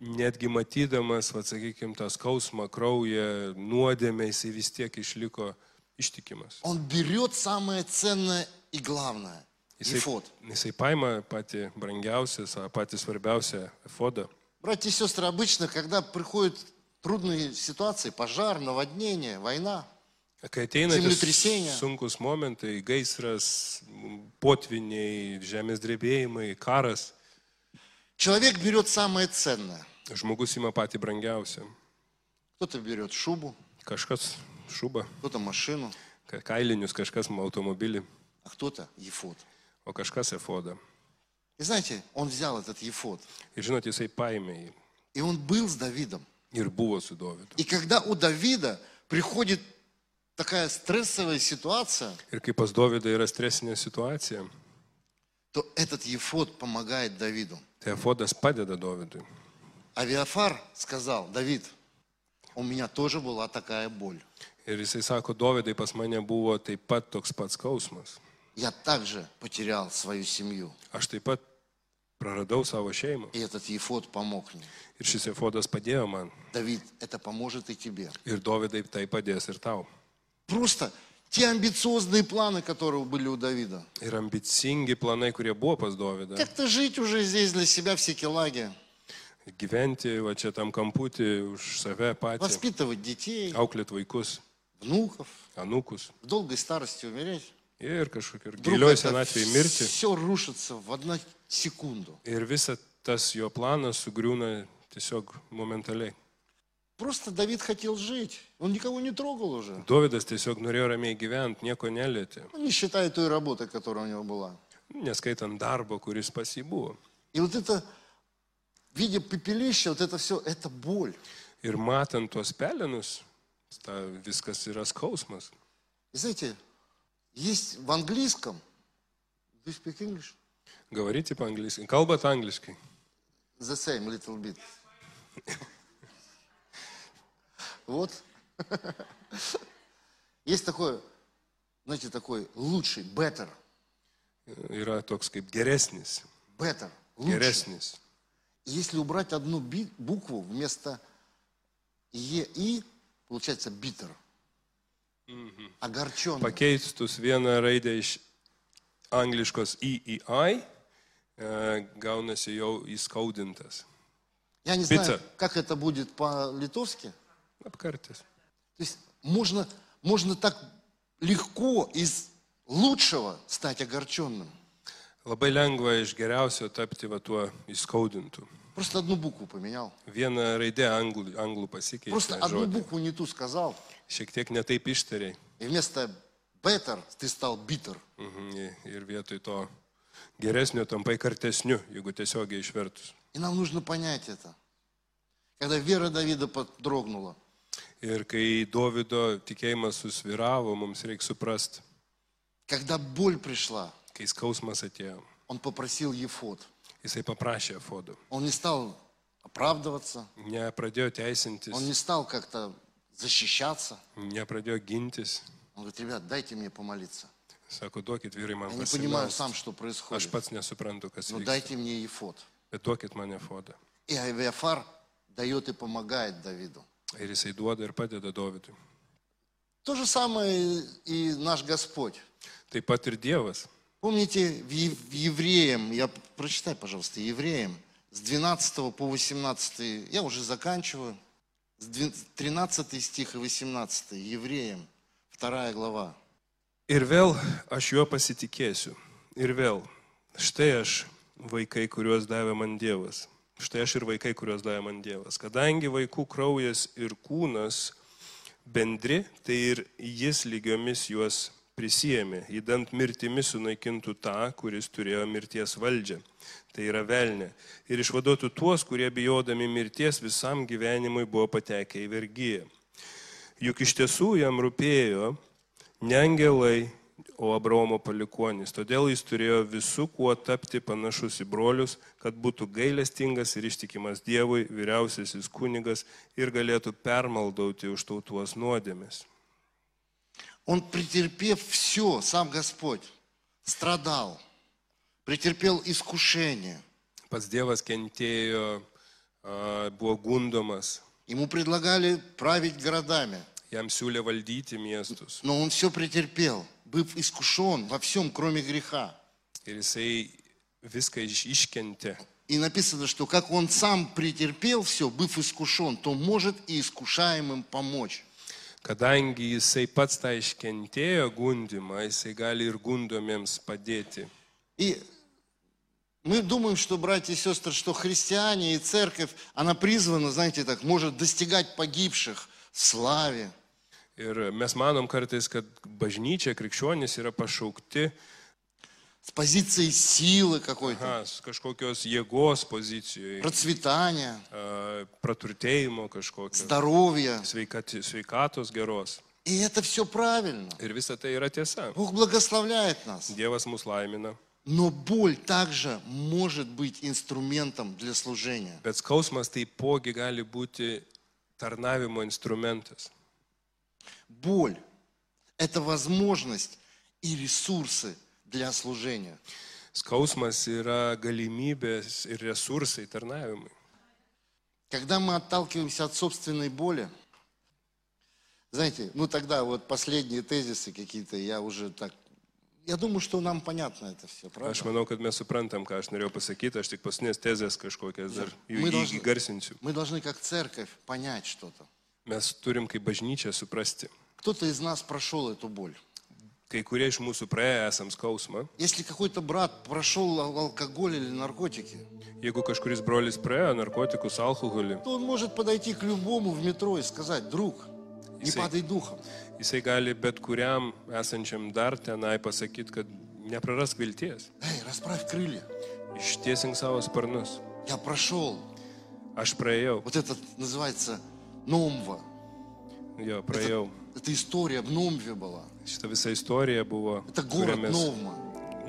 netgi matydamas, atsakykime, tą skausmą, kraują, nuodėmę, jisai vis tiek išliko ištikimas.
Он берет самое ценное и главное.
Jisai,
Ефот.
jisai paima patį brangiausią, sa- patį svarbiausią fodą.
Братья и сестры, обычно, когда приходят трудные ситуации, пожар, наводнение, война,
Kai ateina
Землетрясение.
sunkus momentai, gaisras, potviniai, žemės drebėjimai, karas,
человек берет самое ценное.
žmogus ima patį brangiausią.
Кто-то берет шубу,
Kažkas šuba,
кто-то машину,
ka- kailinius, kažkas automobilį,
а кто-то ефот.
o kažkas efodą.
И знаете, он взял этот ефот,
Ir žinot, jisai paėmė jį
и он был с Давидом.
ir buvo su Dovydu.
И когда у Давида приходит такая стрессовая ситуация,
Ir kai pas Dovydą yra stresinė situacija,
то этот Ефот помогает Давиду.
tai Efodas padeda Dovydui.
Авиафар сказал, Давид, у меня тоже была такая боль.
Ir jisai sako, Dovydai pas mane buvo taip pat toks pats skausmas.
Я также потерял свою семью.
Aš taip pat praradau savo šeimą.
И этот Ефот помог мне.
Ir šis Efodas padėjo man.
Давид, это поможет и тебе.
Ir Dovydai tai padės ir tau.
Просто те амбициозные планы, которые были у Давида.
Ir ambicingi planai, kurie buvo pas Dovydą.
Как-то жить уже здесь для себя в Секелаге,
Gyventi va čia tam kamputį už save patį.
воспитывать детей,
Auklėt vaikus,
внуков,
anūkus.
в долгой старости умереть.
Ir kažkokiu
Вдруг
gilioj senatvėje mirti.
все рушится в одну секунду.
Ir visa tas jo planas sugriūna tiesiog momentaliai.
Просто Давид хотел жить. Он никого не трогал уже.
Dovydas tiesiog norėjo ramiai gyventi, nieko nelietė,
Ну, Не считая той работы, которая у него была.
neskaitant darbo, kuris pas jį buvo.
И вот это, видя пепелище, вот это все, это боль.
Ir matant tuos pelenus, ta, viskas yra skausmas.
И знаете, есть в английском, do you speak English?
Gavaryti angliškai. Kalbat angliškai.
The same little bit. Вот. Есть такое, знаете, такой лучший, better,
Yra toks kaip geresnis.
better, лучше.
Geresnis.
Если убрать одну би- букву вместо е и, получается bitter. Огорченный.
Pakeistus vieną raidę iš angliškos į į ai, e, gaunasi jau įskaudintas.
Я не знаю,
Bitter.
как это будет по-литовски.
Apkartis.
То есть можно, можно так легко из лучшего стать огорченным.
Labai lengva iš geriausio tapti va tuo įskaudintu.
Просто одну букву поменял.
Vieną raidę anglų, anglų
Просто
pasikeisti
одну
žodį.
букву не ту сказал,
Šiek tiek netaip ištariai.
и вместо better ты стал bitter.
Mhm, Ir vietoj to geresnio tampai kartesniu, jeigu tiesiogiai išvertus.
И нам нужно понять это. Когда вера Давида подрогнула,
Ir kai Davido tikėjimas susviravo, mums reikia suprasti,
когда боль пришла,
kai skausmas atėjo,
он pопросил Ефот.
jisai paprašė Fodo.
Он не стал оправдываться,
Nepradėjo
он
teisintis,
не стал как-то защищаться.
nepradėjo gintis.
Он говорит, ребят, дайте мне помолиться.
Sako, duokit vyrai man
Я не понимаю
pasimelst.
сам, что
Aš
происходит,
pats nesuprantu, kas
но
vyksta.
дайте мне Ефот.
Bet duokit mane Fodą.
И Авиафар дает и помогает Давиду.
Ir jisai duoda ir padeda Davidui.
То же самое и наш Господь.
Taip pat ir Dievas.
Помните, в Ев- в Евреям, я прочитай, пожалуйста, Евреям, с 12 по 18, я уже заканчиваю, с двен- 13 стих и 18, Евреям, 2 глава.
Ir vėl aš juo pasitikėsiu. Ir vėl, štai aš vaikai, kuriuos davė man Dievas. Štai aš ir vaikai, kuriuos davė man Dievas. Kadangi vaikų kraujas ir kūnas bendri, tai ir jis lygiomis juos prisijėmė, įdant mirtimi sunaikintų tą, kuris turėjo mirties valdžią. Tai yra velnė. Ir išvaduotų tuos, kurie bijodami mirties visam gyvenimui buvo patekę į vergyją. Juk iš tiesų jam rūpėjo ne angelai, o Abraomo palikonis. Todėl jis turėjo visų kuo tapti panašus į brolius, kad būtų gailestingas ir ištikimas Dievui, vyriausiasis kunigas ir galėtų permaldauti už tautuos nuodėmės.
Он, претерпев все, сам Господь, страдал, претерпел искушение.
Pats Dievas kentėjo, a, buvo gundomas,
Ему предлагали править городами,
jam siūlė valdyti miestus.
но он все претерпел, быв искушен во всем, кроме греха.
Ir jisai viską iš- iškentė.
И написано, что как он сам претерпел все, быв искушен, то может и искушаемым помочь.
Kadangi jisai pats tą iškentėjo gundimą, jisai gali ir gundomiems padėti.
И мы думаем, что, братья и сестры, что христиане и церковь, она призвана, знаете так, может достигать погибших в славе,
Ir mes manom kartais, kad bažnyčia, krikščionys yra pašaukti
с позиции силы какой-то,
aha, s- kažkokios jėgos pozicijoje,
процветания,
a, praturtėjimo kažkokio,
здоровья.
sveikati- sveikatos geros.
И это все правильно.
Ir visa tai yra tiesa.
Бог благословляет нас.
Dievas mus laimina,
Но боль также может быть инструментом для служения.
bet skausmas taipogi gali būti tarnavimo instrumentas.
Боль – это возможность и rесурсы для служения.
Skausmas yra galimybės ir resursai tarnavimui.
Когда мы отталкиваемся от собственной боли, знаете, ну тогда вот последние тезисы какие-то, я уже так... Я думаю, что нам понятно это все,
Aš
правда?
manau, kad mes suprantam, ką aš norėjau pasakyti, aš tik pasinės tezės kažkokias dar jų
Мы должны-
įgarsinsiu.
мы должны как церковь понять что-то.
Mes turim kaip bažnyčia suprasti.
Кто-то из нас прошел эту боль.
Kai kurie iš mūsų praėję esam skausmą,
Если какой-то брат прошел ал- алкоголь или наркотики,
jeigu kažkuris brolis praėjo narkotikus, alkoholį,
то он может подойти к любому в метро и сказать, друг, не
Если-
падай духом.
jisai gali bet kuriam esančiam dar tenai pasakyti, kad neprarask vilties,
Эй, расправь крылья.
ištiesink savo sparnus.
Я прошел.
Aš praėjau,
Вот этот называется Номва.
jo, praėjau.
Это история в Номве была.
Šita visa istorija buvo
Это город
kuriamės-
Новма.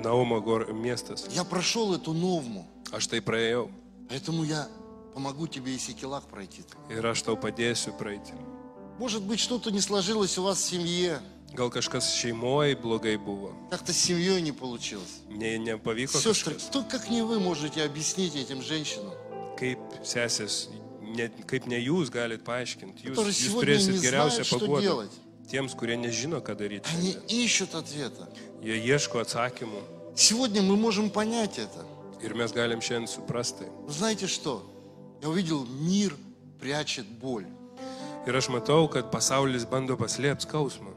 Naumo gor, miestas.
Я прошел эту Новму.
Aš tai praėjau
Поэтому я помогу тебе и Секелах пройти.
ir aš tau padėsiu praeiti.
Может быть, что-то не сложилось у вас в семье.
Gal kažkas šeimoje blogai buvo,
Как-то с семьей не получилось.
ne, nepavyko
Сестры,
kažkas.
кто, как не вы, можете объяснить этим женщинам,
Kaip sesės, ne, kaip ne jūs galit paaiškinti, jūs,
которые
jūs
сегодня
turėsit
не знают,
geriausią
что
paguodą.
делать?
Tiems, kurie nežino, ką daryti,
Они
šiandien.
ищут ответа.
jie ieško atsakymų
Сегодня мы можем понять это.
ir mes galim šiandien suprasti.
Вы знаете что? Я увидел, мир прячет боль.
Ir aš matau, kad pasaulis bando paslėpti skausmą.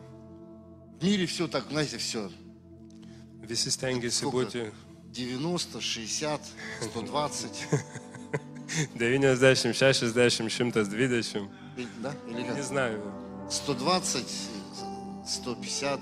В мире все так, знаете, все.
Visi stengiasi
Сколько?
būti <laughs>
90, 60, 120.
90, 60, 120.
Или- Да? Или как?
Nežinau.
120, 150.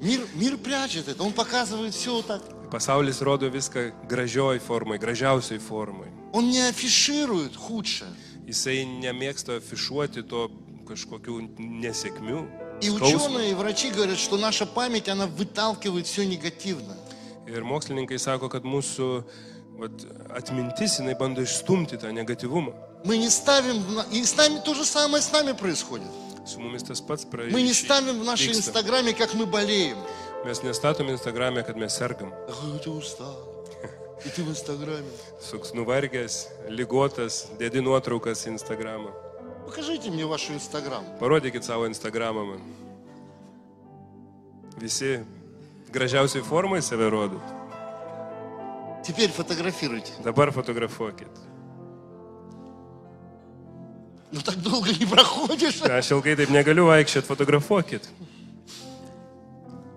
Мир, мир прячет это. Он показывает все так.
Pasaulis rodo viską gražioj formai, gražiausiai formai.
Он не афиширует худшее.
Jisai nemėgsta afišuoti to kažkokių nesėkmių.
И
skausmo.
ученые, и врачи говорят, что наша память, она выталкивает все негативное.
Ir mokslininkai sako, kad mūsų vat, atmintis jinai bando išstumti tą negatyvumą.
Мы не ставим... на- И с нами то же самое с нами происходит.
Su mumis tas pats
Мы не ставим в нашей
praeis.
инстаграме, как мы болеем.
Mes nestatom Instagram'e, kad mes sergam.
Ах, ты устал. И ты в инстаграме.
Suks nuvargęs, lygotas, dėdi nuotraukas į Instagramą.
Покажите мне вашу инстаграм.
Parodykit savo Instagramą man. Visi gražiausiai formai save rodo.
Теперь фотографируйте.
Dabar fotografuokit.
Ну так долго не проходишь.
Aš ilgai taip negaliu vaikščioti, fotografuokit.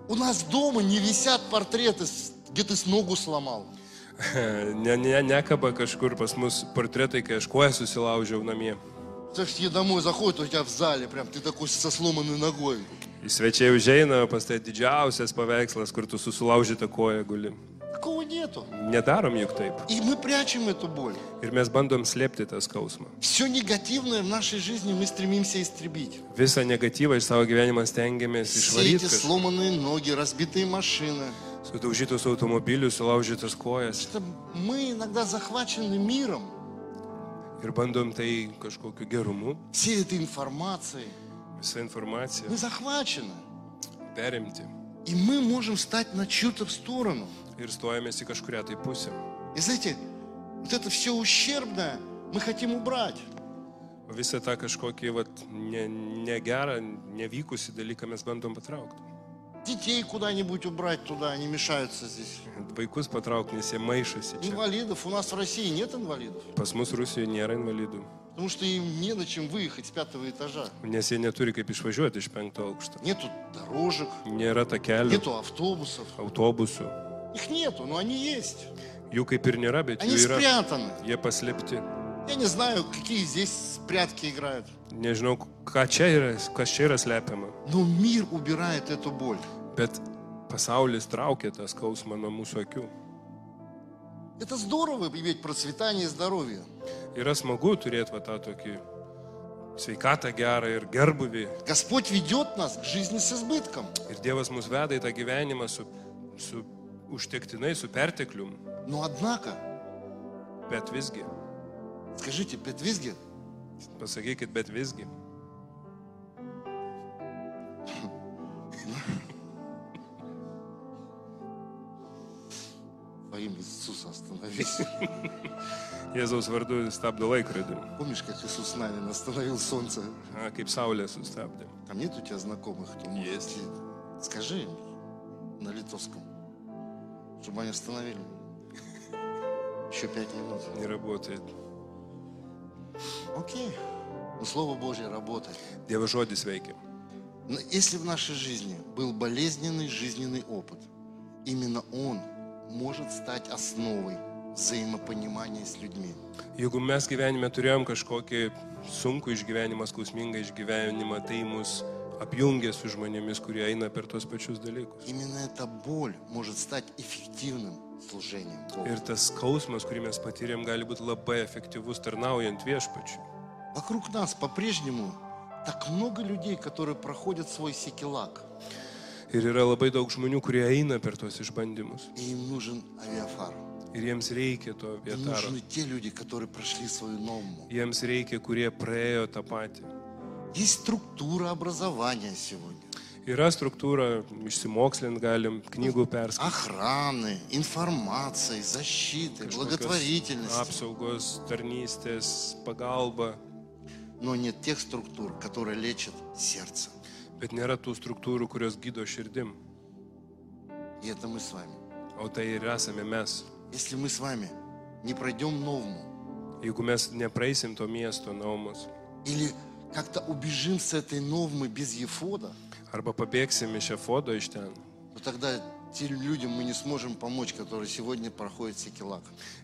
У нас дома не висят портреты, с- где ты с ногу сломал.
<coughs> Ne, ne, nekaba kažkur pas mus portretai, kai aš koją susilaužiau namie.
Так все домой заходят, у тебя в зале прям, ты такой со сломанной ногой.
Į svečiai užeina, pas tai didžiausias paveikslas, kur tu susilaužyta koja guli.
Такого нету.
Nedarom juk taip.
И мы прячем эту боль.
Ir mes bandom slėpti tą skausmą.
Все негативное в нашей жизни мы стремимся истребить.
Visą negatyvą iš savo gyvenimą stengiamės
Все эти
išvaryti. kažkaip.
сломанные ноги, разбитые машины.
Sudaužytus automobilius, sulaužytas kojas.
Это мы иногда захвачены миром,
Ir bandom tai kažkokiu gerumu,
всей этой информацией.
visą informaciją
Мы захвачены.
perimti.
И мы можем встать на чью-то сторону.
Ir stojamės į kažkuria tai pusę.
И знаете, вот это все ущербное мы хотим убрать.
O visą tą kažkokį vat, ne, negerą, nevykusi dalyką mes bandom patraukti.
Детей куда-нибудь убрать туда, они мешаются здесь.
Vaikus patraukti, nes jie maišosi čia.
Инвалидов. У нас в России нет инвалидов,
Pas mus Rusijoje nėra invalidų,
потому что им не на чем выехать с пятого этажа.
nes jie neturi kaip išvažiuoti iš penkto aukšto.
Нету дорожек,
Nėra takelių,
нету автобусов.
autobusų.
Их нету, но они есть.
Jų kaip ir nėra, bet
Они
jų yra.
спрятаны.
Jie paslėpti.
Я не знаю, какие здесь прятки играют.
Nežinau, ką čia yra, kas čia yra slepiama.
Но мир убирает эту боль.
Bet pasaulis traukia tą skausmą nuo mūsų akių.
Это здорово иметь процветание и здоровье.
Yra smagu turėti va tą tokį sveikatą gerą ir gerbuvį.
Господь ведет нас к жизни с избытком.
Ir Dievas mus veda į tą gyvenimą su, su užtektinai, su perteklium.
Но однако,
Bet visgi,
скажите, Петвизгер,
pasakykit, bet visgi.
во имя Иисуса остановись.
Jėzaus vardu stabdo laikrodį,
Помнишь, как Иисус Навин остановил солнце?
A, kaip saulė sustabdė.
Там нет у тебя знакомых? кто может
Есть.
идти? Скажи им на литовском, чтобы они остановили. Еще пять минут.
Не работает.
Окей. Но Слово Божье работает.
Dievo žodis veikia.
Но если в нашей жизни был болезненный жизненный опыт, именно он может стать основой взаимопонимания с людьми.
Jeigu mes gyvenime turėjom kažkokį sunkų išgyvenimą, skausmingą išgyvenimą, tai mus apjungia su žmonėmis, kurie eina per tos pačius dalykus.
Именно эта боль может стать эффективным служением Богу.
Ir tas skausmas, kurį mes patyrėm, gali būti labai efektyvus tarnaujant viešpačiu.
Вокруг нас по-прежнему так много людей, которые проходят свой секелак.
Ir yra labai daug žmonių, kurie eina per tos išbandymus.
И им нужен авиафар.
Ir jiems reikia to
Им
vietaro.
нужны те люди, которые прошли свою норму.
Jiems reikia, kurie praėjo tą patį.
Есть структура образования сегодня.
Yra struktūra, išsimokslint galim, knygų perskaityti.
Охраны, информации, защиты, благотворительности.
Apsaugos, tarnystės, pagalba.
Но нет тех структур, которые лечат сердце.
Bet nėra tų struktūrų, kurios gydo širdim.
И это мы с вами.
O tai ir esame mes.
Если мы с вами не пройдем новому
Jeigu mes nepraeisim to miesto naumos,
или как-то убежим с этой новмы без ефода,
arba pabėgsim iš efodo iš ten,
то тогда тем людям мы не сможем помочь, которые сегодня проходят секелак.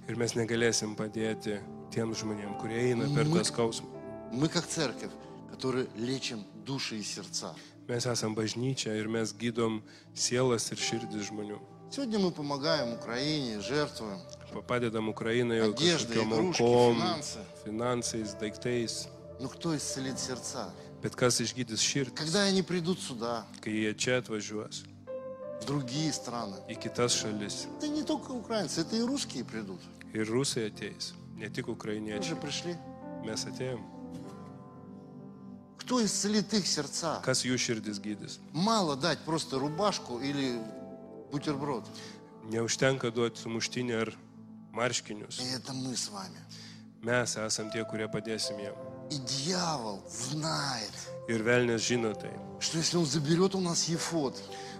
ir mes negalėsim padėti tiem žmonėm, kurie eina per tą skausmą.
Мы как церковь, которые лечим души и сердца.
Mes esam bažnyčia ir mes gydom sielas ir širdis žmonių.
Сегодня мы помогаем Украине, жертвуем.
Pa- Padedam Ukrainai jau
Одежда,
kažkokiom
игрушки,
aukom,
finansai.
finansais, daiktais.
Но кто исцелит сердца?
Bet kas išgydys širdį,
Когда они придут сюда,
kai jie čia atvažiuos
в другие страны?
į kitas šalis
Это не только украинцы, это и русские придут.
ir rusai ateis, ne tik
Они
ukrainiečiai,
же пришли.
mes atėjom.
Кто исцелит их сердца?
Kas jų širdis gydys?
Мало дать просто рубашку или бутерброд.
Neužtenka duoti sumuštinį ar marškinius.
И это мы с вами.
Mes esam tie, kurie padėsim jiem.
И дьявол знает,
Ir velnės žino tai.
что если он заберет у нас Ефот,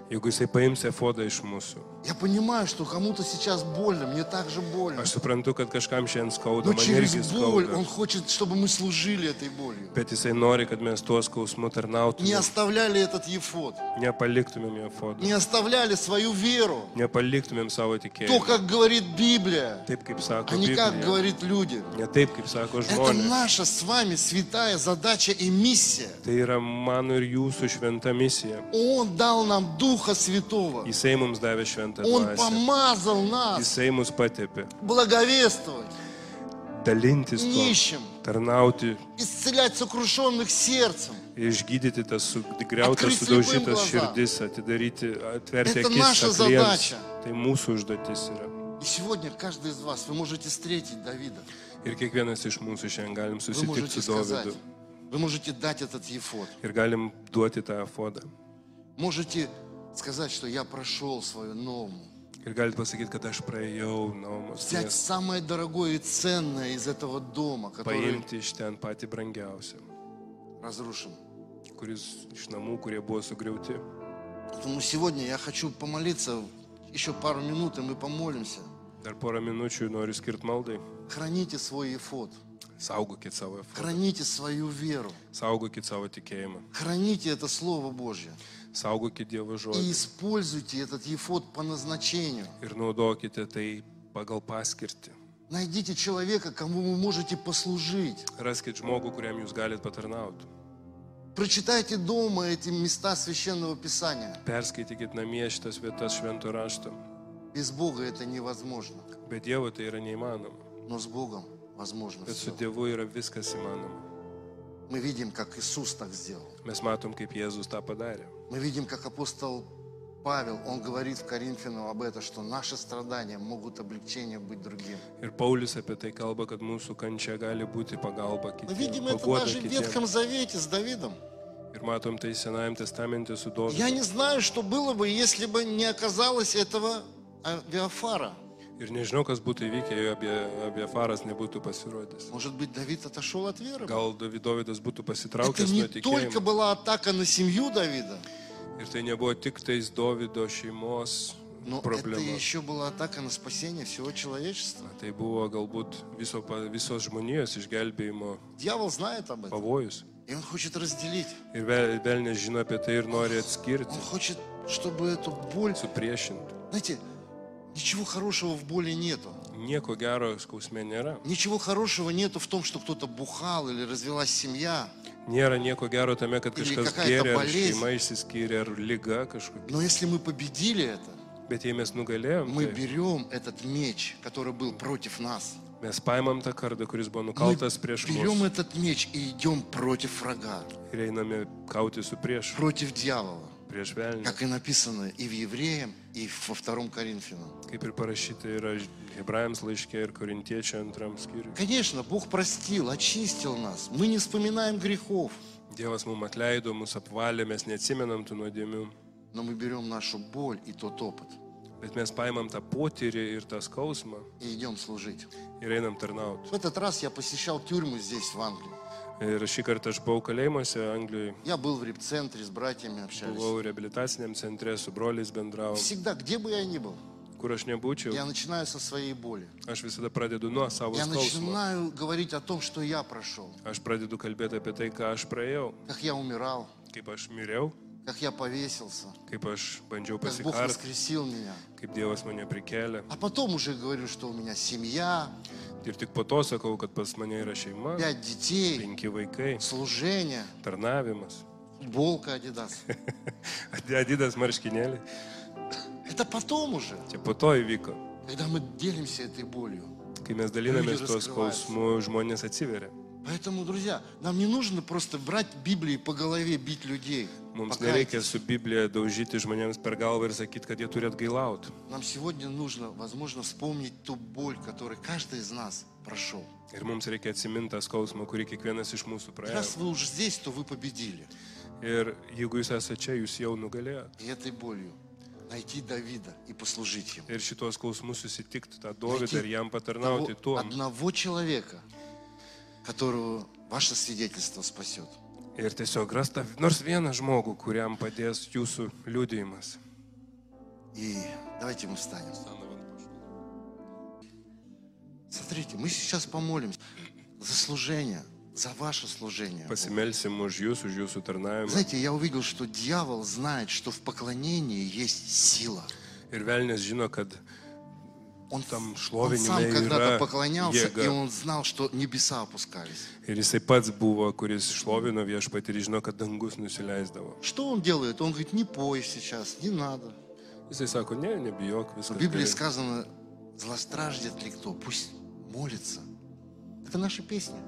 Jeigu jisai paims efodą iš mūsų,
я понимаю, что кому-то сейчас больно, мне так же больно.
aš suprantu, kad kažkam šiandien skauda,
Но
man irgi
через боль
skauda.
он хочет, чтобы мы служили этой болью.
Bet jisai nori, kad mes tuo skausmu
Не
tarnautumėm,
оставляли этот Ефот,
nepaliktumėm efodą,
не оставляли свою веру.
nepaliktumėm savo
То,
tikėjimą.
как говорит Библия,
Taip kaip
а
sako
не как
Biblija,
говорит люди.
ne taip kaip sako
Это
žmonės.
наша с вами святая задача и миссия.
Tai yra mano ir jūsų šventa misija.
Он дал нам Духа Святого.
Jisai mums davė šventą
Он
dvasią.
помазал нас
Jisai mus patepė.
благовествовать
Dalintis tuo,
Нищим.
tarnauti
исцелять сокрушенных сердцем.
Išgydyti tas sugriautas,
Atkreipti lipim
sudaužytas
glazą.
širdis, atidaryti, atverti
Это
akis.
наша
akliems.
задача.
Tai mūsų užduotis yra.
И сегодня каждый из вас, вы можете встретить Давида.
Ir kiekvienas iš mūsų šiandien
Вы
galim susitikti
можете
su
сказать,
Dovydu.
вы можете дать этот ефот.
Ir galim duoti tą afodą.
Можете сказать, что я прошел свою норму.
Ir galit pasakyti, kad aš praėjau namus.
Взять самое дорогое и ценное из этого дома, который
Paimti iš ten patį brangiausią,
разрушен.
kuris iš namų, kurie buvo sugriauti.
Поэтому сегодня я хочу помолиться еще пару минут, и мы помолимся.
Dar porą minučių noriu skirti maldai.
Храните свой ефот,
Saugokit savo afodą.
храните свою веру,
Saugokit savo tikėjimą.
храните это Слово Божье
Saugokit Dievo
и
žodį.
используйте этот ефот по назначению.
Ir naudokite tai pagal paskirtį.
Найдите человека, кому вы можете послужить.
Raskit žmogų, kuriam jūs galite patarnauti.
Прочитайте дома эти места Священного Писания.
Perskaitykit namie šitas vietas šventų rašto.
Без Бога это невозможно,
Be Dievo tai yra neįmanoma.
но с Бogом возможно
Bet
все.
su Dievu yra viskas įmanoma.
Мы видим, как Иисус так сделал.
Mes matom, kaip Jėzus tą padarė.
Мы видим, как апостол Павел, он говорит в Коринфянам об этом, что наши страдания могут облегчением быть другим.
Ir Paulius apie tai kalba, kad mūsų kančia gali būti pagalba
Мы
kitiems.
видим это
Paguoda
даже в
kitiems.
Ветхом Завете с Давидом.
Ir matom tai Senajam testamente su Dovydu.
Я не знаю, что было бы, если бы не оказалось этого а, Авиафара.
Ir nežinau, kas būtų įvykę, jei apie, apie faras nebūtų pasirodęs.
Может быть, Давид отошел от веры?
Gal Davidovidas būtų
Это
pasitraukęs
не
nuo
только
tikėjimo.
была атака на семью Давида,
Ir tai nebuvo tik tais Davido šeimos
но это
problema.
еще была атака на спасение всего человечества.
Tai buvo galbūt viso, pa- visos žmonijos išgelbėjimo
Дьявол знает об этом,
pavojus.
и он хочет разделить.
Ir ve- vėl nežino apie tai ir nori
Он
atskirti,
хочет, чтобы эту боль...
supriešinti.
Знаете, ничего хорошего в боли нету.
Nieko gero skausme nėra.
Ничего хорошего нету в том, что кто-то бухал или развелась семья.
Nėra nieko gero tame, kad
Ir
kažkas
какая-то
gėrė, ar
болезнь.
šeima išsiskyrė, ar lyga kažkokia.
Но если мы победили это,
Bet jei mes nugalėjom,
мы
tai
берем этот меч, который был против нас.
mes paimam tą kardą, kuris buvo
Мы
nukaltas prieš
берем
mus
этот меч и идем против врага,
ir einame kauti su priešu,
против дьявола.
prieš velnį.
Как и написано и в Евреям, и во втором Коринфянам.
Kaip ir parašyta yra Hebrajams laiškė ir Korintiečiai antram skyriui.
Конечно, Бог простил, очистил нас. Мы не вспоминаем грехов,
Dievas mums atleido, mus apvalė, mes neatsimenam tų nuodėmių,
но мы берем нашу боль и тот опыт
bet mes paimam tą potyrį ir tą skausmą
и идем служить.
ir einam tarnauti.
В этот раз я посещал тюрьму здесь, в Англии.
Ir šį kartą aš buvau kalėjimuose Anglijoje,
Я был в репцентре, с братьями общались.
buvau reabilitaciniam centre, su broliais bendravom.
Всегда, где бы я ни был,
Kur aš nebūčiau,
я начинаю со своей боли.
aš visada pradedu nuo savo
Я
skausmo.
начинаю говорить о том, что я прошел,
Aš pradedu kalbėti apie tai, ką aš praėjau,
как я умирал,
kaip aš miriau,
как я повесился,
kaip aš bandžiau
как Бог
pasikarti,
воскресил меня.
kaip Dievas mane prikelia.
А потом уже говорю, что у меня семья,
Ir tik po to sakau, kad pas mane yra šeima,
пять детей,
penki vaikai,
служение,
tarnavimas,
футболка Адидас.
Adidas marškinėliai.
Это потом уже,
Čia po to įvyko.
когда мы делимся этой болью.
Kai mes dalinamės
Люди
tuo
раскрываются.
skausmu, žmonės atsiveria.
Поэтому, друзья, нам не нужно просто брать Библии по голове, бить людей.
Mums nereikia
Покайтесь.
su Biblija daužyti žmonėms per galvą ir sakyti, kad jie turi atgailauti.
Нам сегодня нужно, возможно, вспомнить ту боль, которую каждый из нас прошел.
Ir mums reikia atsiminti tą skausmą, kurį kiekvienas iš mūsų
Раз
praėjo.
вы уже здесь, то вы победили.
Ir jeigu jūs esate čia, jūs jau nugalėjote.
И этой болью найти Давида и послужить ему.
Ir šituos skausmus susitikti tą
Найти
Dovydą ir jam patarnauti
того-
tuo.
одного человека, которого ваше свидетельство спасет.
Ir tiesiog rasta nors vieną žmogų, kuriam padės jūsų liūdėjimas.
И давайте мы встанем. Смотрите, мы сейчас помолимся за служение, за ваше служение.
Pasimelsim už jūs, už jūsų tarnavimą.
Знаете, я увидел, что дьявол знает, что в поклонении есть сила.
Ir velnės žino, kad
Он,
Там
он
шlovение
сам
имя
когда-то
Ира,
поклонялся,
Ега.
и он знал, что небеса опускались.
ir jisai pats buvo, kuris šlovino viešpatį ir žino, kad dangus nusileisdavo.
Что он делает? Он говорит, не пой сейчас, не надо.
Jisai sako, ne, nebijok,
В
viskas.
Библии
gerai."
сказано, злостраждет ли кто, пусть молится. Это наша песня.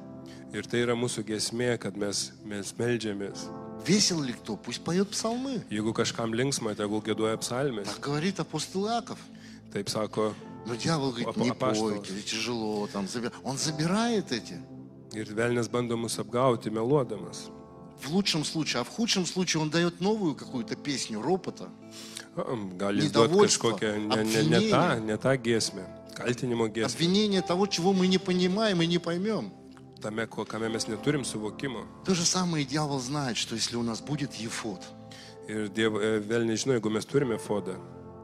Ir tai yra mūsų gesmė, kad mes, mes melžiamės.
Весел ли кто, пусть поет псалмы.
Jeigu kažkam linksma, tegul gėduoja psalmės.
Так говорит апостол Иаков.
Taip sako,
Но дьявол говорит,
Апо-
не
апостол.
пойте, или тяжело там. заби- Он забирает эти.
ir velnės bando mus apgauti meluodamas.
В лучшем случае, а в худшем случае он дает новую какую-то песню ропота.
Am, Gali jis duoti
Недовольство,
kažkokią ne, ne, ne, tą,
apvinėjimą.
ne tą giesmę, kaltinimo giesmę,
Обвинение того, чего мы не понимаем и не поймем.
tame, ko, kame mes neturim suvokimo.
То же самое и дьявол знает, что если у нас будет Ефот,
Ir diev, e, vėl nežinau, jeigu mes turime fodą,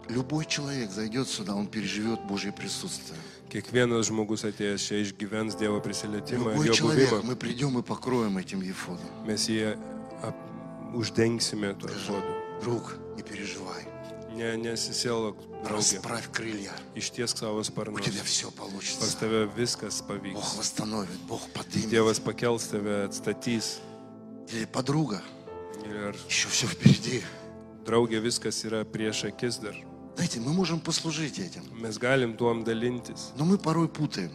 любой человек зайдет сюда, он переживет Божье присутствие.
kiekvienas žmogus atėjęs čia išgyvens Dievo prisilietimą ir
Любой
jo
человек,
buvimą.
мы придем и покроем этим Ефотом.
Mes jį ap, uždengsime tuo fodu.
Друг, не переживай,
Ne, nesisielok, draugė.
расправь крылья,
Ištiesk
у
savo sparnus.
тебя все
Pas
получится.
tave viskas pavyks.
Бог восстановит, Бог поднимет.
Dievas pakels tave, atstatys.
Или подруга,
Ir
еще все впереди.
draugė, viskas yra prieš akis dar.
Знаете, мы можем послужить этим,
Mes galim tuom dalintis.
но мы порой путаем.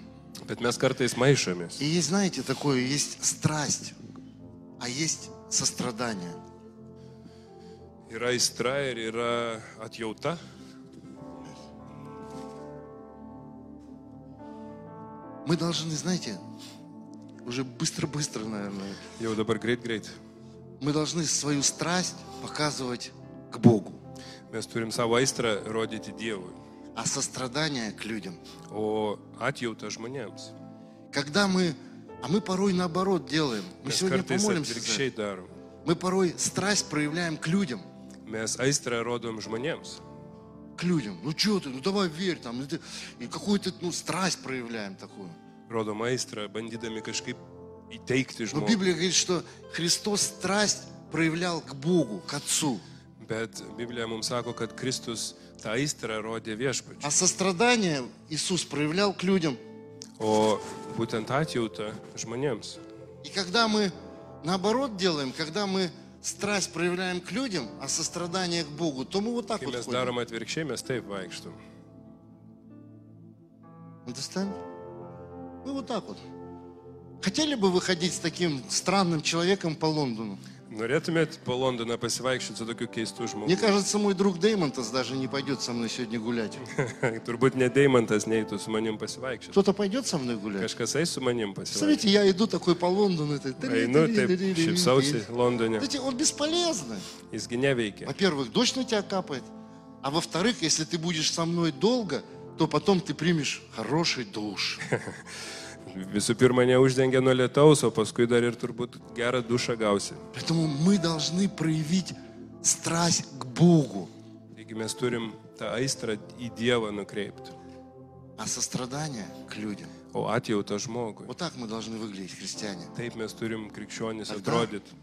Bet mes kartais maišomės.
И есть, знаете, такое, есть страсть. а есть сострадание.
Yra aistra ir yra atjauta.
Мы должны, знаете, уже быстро-быстро, наверное,
Jau dabar greit, greit.
мы должны свою страсть показывать к Богу,
Mes turim savo aistrą rodyti Dievui,
а сострадание к людям.
o atjauta žmonėms.
Когда мы, а мы порой наоборот делаем, мы
Mes
сегодня
kartais
помолимся, за это.
atvirkščiai darom.
мы порой страсть проявляем к людям,
Mes aistrą rodom žmonėms.
к людям. Ну что ты, ну давай верь там, ну ты- и какую-то ну, страсть проявляем такую.
Rodom aistrą, bandydami kažkaip įteikti
Но
žmogui.
Библия говорит, что Христос страсть проявлял к Богу, к Отцу,
Bet Biblija mums sako, kad Kristus tą aistrą rodė viešpačiu.
а сострадание Иисус проявлял к людям.
O būtent atjauta žmonėms.
И когда мы наоборот делаем, когда мы страсть проявляем к людям, а сострадание к Богу, то мы вот так
Kai
вот
mes
ходим.
darom atvirkščiai, mes taip vaikštum.
Understand? Мы вот так вот. Хотели бы выходить с таким странным человеком по Лондону?
Norėtumėt po Londoną pasivaikščioti su tokiu keistu
Мне
žmogumi?
кажется, мой друг Деймонтас даже не пойдет со мной сегодня гулять.
<laughs> Turbūt nedeimantas neitų su manim pasivaikščioti.
Кто-то пойдет со мной гулять?
Kažkas eis su manim pasivaikščioti.
Смотрите, я иду такой по Лондону. это тыри-
Einu
тыри-
taip,
тыри- тыри-
šipsausi Londone.
Знаете, он бесполезный.
Jisgi neveikia.
Во-первых, дождь на тебя капает. А во-вторых, если ты будешь со мной долго, то потом ты примешь хороший душ.
Visų pirma, neuždengia nuo lietaus, o paskui dar ir turbūt gerą dušą gausi.
Поэтому мы должны проявить страсть к Богу,
Taigi mes turim tą aistrą į Dievą nukreipti,
а сострадание к людям.
o atjautą žmogui.
Вот так мы должны выглядеть, христиане.
Taip mes turim krikščionis
Tada-
atrodyti.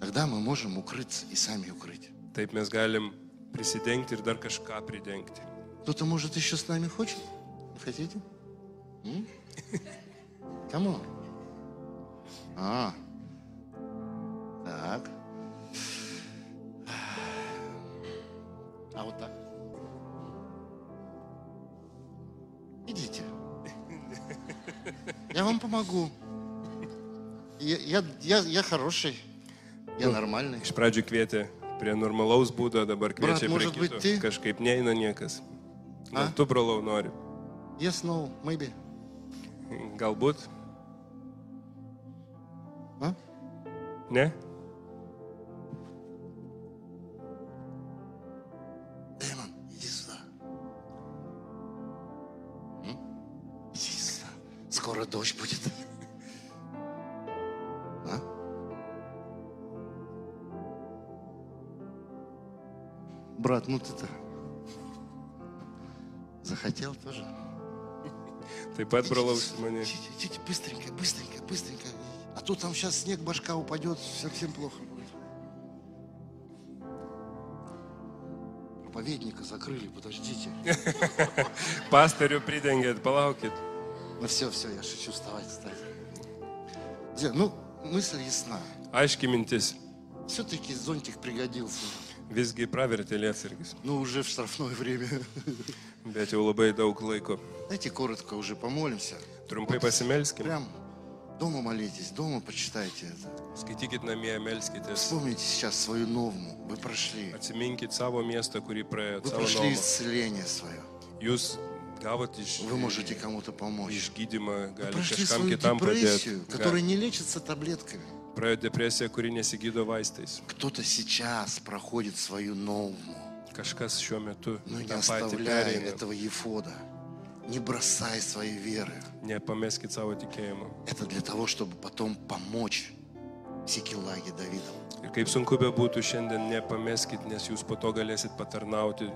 Тогда мы можем укрыться и сами укрыть.
Taip mes galim prisidengti ir dar kažką pridengti.
Кто-то, может, еще с нами хочет? Не хотите? М? Кому? А. Так. А вот так. Идите. Я вам помогу. Я, я, я, я хороший. Я нормальный.
Iš pradžių kvietė prie normalaus būdo, dabar
Brat,
kviečia prie
может быть, ты?
kito. Kažkaip neina niekas. Na,
A?
tu, brolau, nori.
Yes, no, maybe.
Galbūt?
А?
Ne?
Дэймон, иди сюда. М? Иди сюда. Скоро дождь будет. А? Брат, ну ты-то захотел тоже?
Taip pat,
Иди
brolau,
сюда.
mane.
Иди, иди, иди, быстренько, быстренько, быстренько. А то там сейчас снег, башка упадет, совсем плохо будет. Проповедника закрыли, подождите.
Pastorių pridengėt, palaukit.
Ну все, все, я шучу, вставайте, вставайте. Друзья, Ну, мысль ясна.
Aiški mintis.
Все-таки зонтик пригодился.
Visgi pravertė lietsargis,
Но уже в штрафное время. <laughs>
bet jau labai daug laiko.
Давайте коротко уже помолимся.
Trumpai pasimelskim.
Прям дома молитесь, дома почитайте это.
Skaitykit namie, melskitės.
Вспомните сейчас свою норму. Вы прошли.
Atsiminkit savo miestą, kurį praėjot,
Вы
savo
прошли
namą.
исцеление свое.
Jūs gavot iš,
Вы можете кому-то помочь.
išgydymą,
Вы
galite
прошли
kažkam
свою
kitam padėti.
депрессию, которая не лечится таблетками.
Ga- Praėjo depresija, kuri nesigydo vaistais.
Кто-то сейчас проходит свою норму.
Kažkas šiuo metu
Но не
tą patį
оставляй
pereina.
Ну, этого Ефода. Не бросай своей веры.
Nepameskit savo tikėjimo.
Это для того, чтобы потом помочь Сикелаге Давиду.
Ir kaip sunku bebūtų šiandien, nepameskit, nes jūs po to galėsit patarnauti.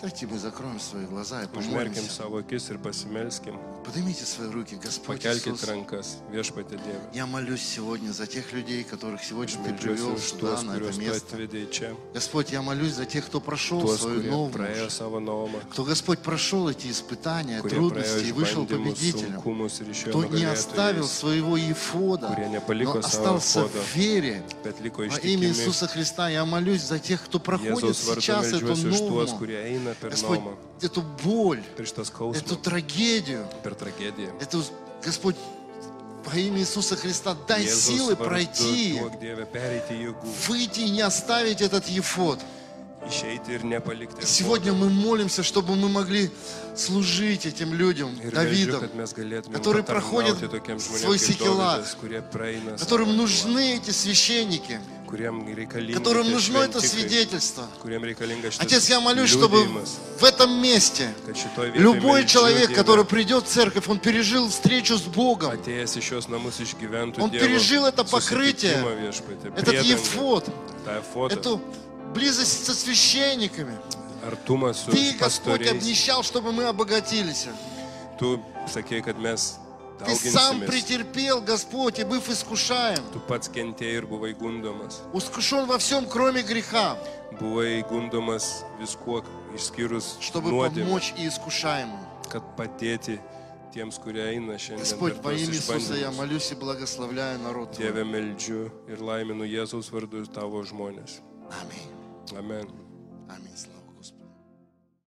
Давайте мы закроем свои глаза и
Užmerkim
помолимся.
savo akis ir pasimelskim.
Поднимите свои руки, Господь
Pakelkit
Иисус.
rankas, viešpatė Dieve.
Я молюсь сегодня за тех людей, которых сегодня Ты
Meldžiuosi
привел
už tuos,
сюда, на это
kuriuos tu
место.
atvedai čia,
Господь, я молюсь за тех, кто прошел
tuos,
свою
kurie
новую.
praėjo savo naomą,
кто Господь прошел эти испытания,
kurie praėjo
трудности и вышел
išbandymus,
победителем,
sunkumus ir išėjo
кто не оставил
nugalėtojais,
своего Ефода,
kurie
но
nepaliko savo
остался
kodo,
в вере.
bet liko
Во имя
ištikimi
Иисуса Христа я молюсь за тех, кто проходит
Jėzaus vardu
сейчас эту
meldžiuosi už tuos,
норму,
kurie eina per
Господь,
nuomą,
эту боль,
per
эту
šitą skausmą,
трагедию,
per tragediją.
эту, Господь, По имя Иисуса Христа дай силы
Jėzaus vardu
пройти,
duok Dieve pereiti jėgų,
выйти и не оставить этот ефот.
išeiti ir
И
nepalikti.
Сегодня мы молимся, чтобы мы могли служить этим людям,
Ir meldžiu,
Давидам,
kad mes galėtume
которые проходят
tokiems
свой
žmonėms, kaip
сикелак,
Dovydas, kurie praeina, savo
которым
tuo,
нужны эти священники,
kuriem reikalingi
которым
tie
нужно это
šventikai,
свидетельство.
kuriem reikalinga šitas
Отец, я молюсь, чтобы
liudijimas,
в этом месте
kad šitoj vietoj
любой
meldžiu
человек,
Dievę,
который придет в церковь, он пережил встречу с Богом,
atėjęs į šios namus išgyventų
Он
Dievo
пережил это покрытие,
susitikimą viešpatie,
этот
priedangą,
ефот,
tą efotą,
эту близость со священниками.
artumą su
Ты, Господь,
pastoriais.
обнищал, чтобы мы обогатились.
Tu sakei, kad mes
Ты сам
dauginsimės.
претерпел, Господь, и быв искушаем.
Tu pats kentėjai ir buvai gundomas.
Искушен во всем, кроме греха,
Buvai gundomas viskuo, išskyrus
чтобы
nuodėmę,
помочь и искушаемым.
kad padėti tiems, kurie eina šiandien.
Господь,
per
во
tuos
имя Иисуса я
išbandymus.
молюсь и благословляю народ Твой.
Dieve meldžiu ir laiminu Jėzaus vardu ir tavo žmonės.
Аминь.
Amen.
Аминь. Слава